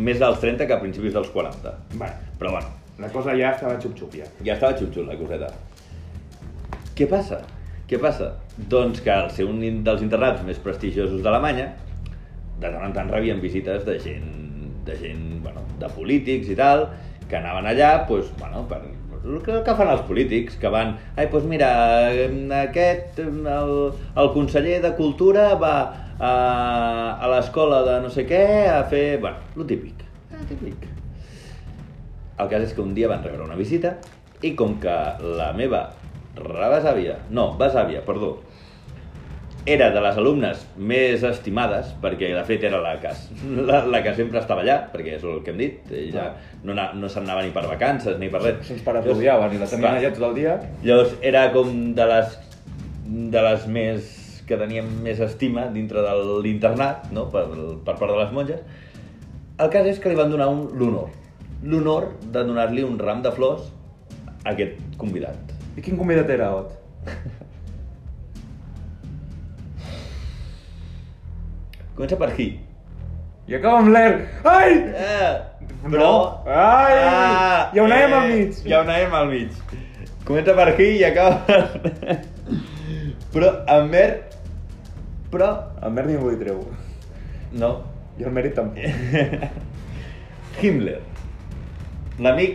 Speaker 1: més dels 30 que a principis dels 40.
Speaker 2: Vale.
Speaker 1: Però bueno,
Speaker 2: La cosa ja estava xup-xup, ja.
Speaker 1: Ja estava xup-xup la coseta. Què passa? Què passa? Doncs que al ser un in- dels internats més prestigiosos d'Alemanya, de tant en tant rebien visites de gent, de gent, bueno, de polítics i tal, que anaven allà, doncs, bueno, per el que, el que fan els polítics, que van, ai, doncs mira, em, aquest, em, el, el conseller de Cultura va a, a l'escola de no sé què a fer, bueno, lo típic, el típic. El cas és que un dia van rebre una visita i com que la meva rebesàvia, no, besàvia, perdó, era de les alumnes més estimades, perquè de fet era la que, es- la, la que sempre estava allà, perquè és el que hem dit, ella no, na- no se'n anava ni per vacances ni per res.
Speaker 2: Se'ns parapodiaven i la tenien
Speaker 1: Clar.
Speaker 2: allà tot el dia.
Speaker 1: Llavors era com de les, de les més que teníem més estima dintre de l'internat, no? per, per part de les monges. El cas és que li van donar un l'honor. L'honor de donar-li un ram de flors a aquest convidat.
Speaker 2: I quin convidat era, Ot?
Speaker 1: Comença per hi.
Speaker 2: I acaba amb l'Er. Ai!
Speaker 1: Eh,
Speaker 2: No. Ai!
Speaker 1: Ah,
Speaker 2: Hi ha una M al mig.
Speaker 1: Hi ha una M al mig. Comença per hi i acaba... per- *laughs* però amb mer... Però...
Speaker 2: El Mer ningú li treu.
Speaker 1: No,
Speaker 2: I el Merit tampoc.
Speaker 1: Himmler. L'amic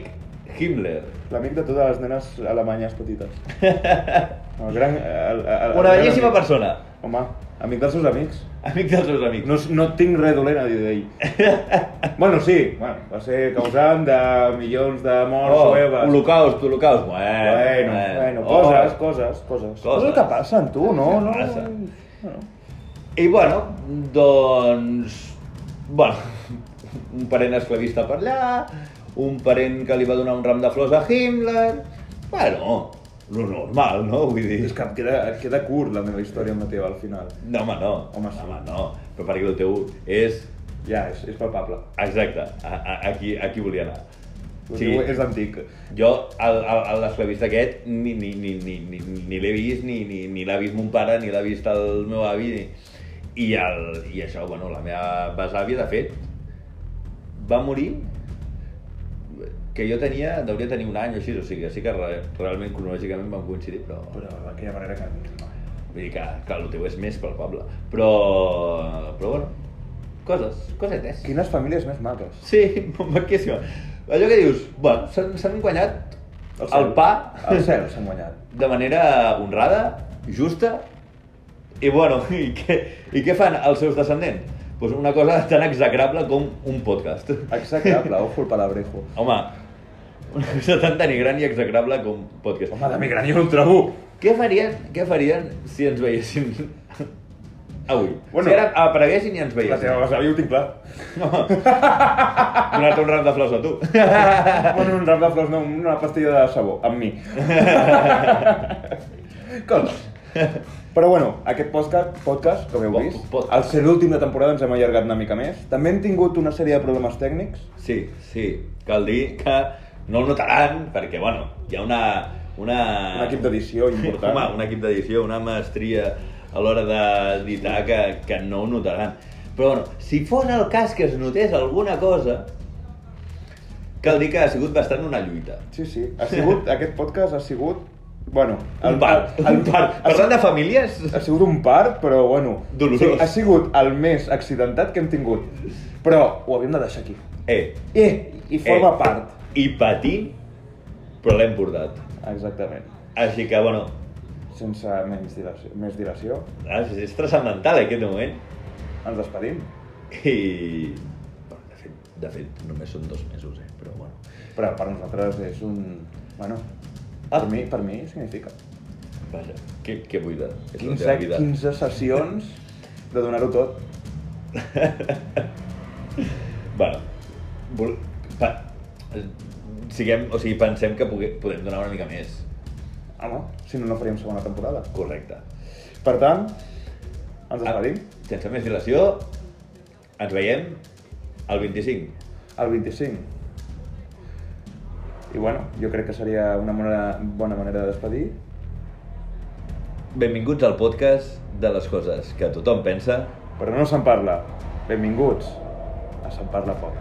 Speaker 1: Himmler.
Speaker 2: L'amic de totes les nenes alemanyes *laughs* petites. El gran... El, el, el,
Speaker 1: Una
Speaker 2: gran
Speaker 1: bellíssima
Speaker 2: amic.
Speaker 1: persona.
Speaker 2: Home, amic dels seus amics.
Speaker 1: Amic dels seus amics.
Speaker 2: No, no tinc res dolent a dir d'ell. *laughs* bueno, sí, bueno, va ser causant de milions de morts
Speaker 1: oh,
Speaker 2: jueves.
Speaker 1: holocaust, holocaust. Bueno, Oh.
Speaker 2: Bueno,
Speaker 1: Eh,
Speaker 2: bueno, coses, coses, coses. Coses que passen, tu, no? no?
Speaker 1: Passa.
Speaker 2: Bueno.
Speaker 1: I bueno, doncs... Bueno, un parent esclavista per allà, un parent que li va donar un ram de flors a Himmler... Bueno, lo normal, no? Vull dir...
Speaker 2: És que em queda, et queda curt la meva història amb la teva al final.
Speaker 1: No, home, no.
Speaker 2: Home, sí.
Speaker 1: home, no. Però perquè el teu és
Speaker 2: Ja, és, és palpable.
Speaker 1: Exacte, a, a, aquí, aquí volia anar.
Speaker 2: El
Speaker 1: Sí,
Speaker 2: teu És antic.
Speaker 1: jo el- el- el- l'esclavista aquest ni, ni, ni, ni, ni, ni l'he vist, ni, ni, ni l'ha vist mon pare, ni l'ha vist el meu avi. Ni... I, el, I això, bueno, la meva besàvia, de fet, va morir que jo tenia, deuria tenir un any o així, o sigui, que sí que re, realment cronològicament vam coincidir, però...
Speaker 2: Però d'aquella manera que... no.
Speaker 1: Vull dir que, clar, el teu és més palpable. Però... Però bueno, coses, cosetes.
Speaker 2: Quines famílies més maques.
Speaker 1: Sí, *laughs* maquíssima. Allò que dius, bueno, s'han s'han guanyat el, el pa
Speaker 2: El cel s'han guanyat.
Speaker 1: de manera honrada, justa, i bueno, *laughs* i què, i què fan els seus descendents? Pues una cosa tan execrable com un podcast.
Speaker 2: Exactable, ojo el palabrejo.
Speaker 1: Home, una cosa tan denigrant i execrable com un podcast.
Speaker 2: Home, de migrant jo no en trobo.
Speaker 1: Què farien, què farien si ens veiessin *laughs* avui?
Speaker 2: Bueno.
Speaker 1: si ara apareguessin i ens
Speaker 2: La
Speaker 1: veiessin.
Speaker 2: teva besàvia ho tinc clar.
Speaker 1: Donar-te un ram de flors a tu. *laughs*
Speaker 2: Bueno, un ram de flors, no, una pastilla de sabó,
Speaker 1: *laughs*
Speaker 2: amb mi. Coses. Però bueno, aquest podcast, podcast com heu
Speaker 1: Po-
Speaker 2: vist,
Speaker 1: podcast.
Speaker 2: al ser l'últim de temporada ens hem allargat una mica més. També hem tingut una sèrie de problemes tècnics.
Speaker 1: Sí, sí, cal dir que no el notaran perquè, bueno, hi ha una... una... Ah. *laughs*
Speaker 2: Un equip d'edició important.
Speaker 1: Home, un equip d'edició, una maestria a l'hora d'editar que, que no ho notaran. Però bueno, si fos el cas que es notés alguna cosa, cal dir que ha sigut bastant una lluita.
Speaker 2: Sí, sí. Ha sigut, aquest podcast ha sigut... Bueno,
Speaker 1: Un part, un part.
Speaker 2: Ha,
Speaker 1: Parlant
Speaker 2: sigut,
Speaker 1: de famílies...
Speaker 2: ha sigut un part, però bueno...
Speaker 1: Dolorós.
Speaker 2: sí, Ha sigut el més accidentat que hem tingut. Però ho havíem de deixar aquí.
Speaker 1: Eh,
Speaker 2: Eh, i forma
Speaker 1: Eh.
Speaker 2: part.
Speaker 1: i patint, però l'hem portat.
Speaker 2: Exactament.
Speaker 1: Així que, bueno, ah,
Speaker 2: Sense menys dilació, més dilació,
Speaker 1: és, és transcendental eh, aquest moment.
Speaker 2: ens despedim.
Speaker 1: I... Bueno, de fet, de fet, només són dos mesos, eh? Però bueno.
Speaker 2: Però per nosaltres és un... Bueno,
Speaker 1: Ah.
Speaker 2: per mi, per mi significa.
Speaker 1: Vaja, què, què vull dir? És la
Speaker 2: 15,
Speaker 1: teva vida.
Speaker 2: 15 sessions de donar-ho tot.
Speaker 1: Bueno, vol... pa... eh, Siguem, o sigui, pensem que pugue... podem donar una mica més.
Speaker 2: Home, si no, no faríem segona temporada.
Speaker 1: Correcte.
Speaker 2: Per tant, ens despedim.
Speaker 1: Ah, Sense més dilació, ens veiem el 25.
Speaker 2: el 25. I bueno, jo crec que seria una bona, bona manera de despedir.
Speaker 1: Benvinguts al podcast de les coses que tothom pensa
Speaker 2: Però no se'n parla. Benvinguts a Se'n Parla Poc.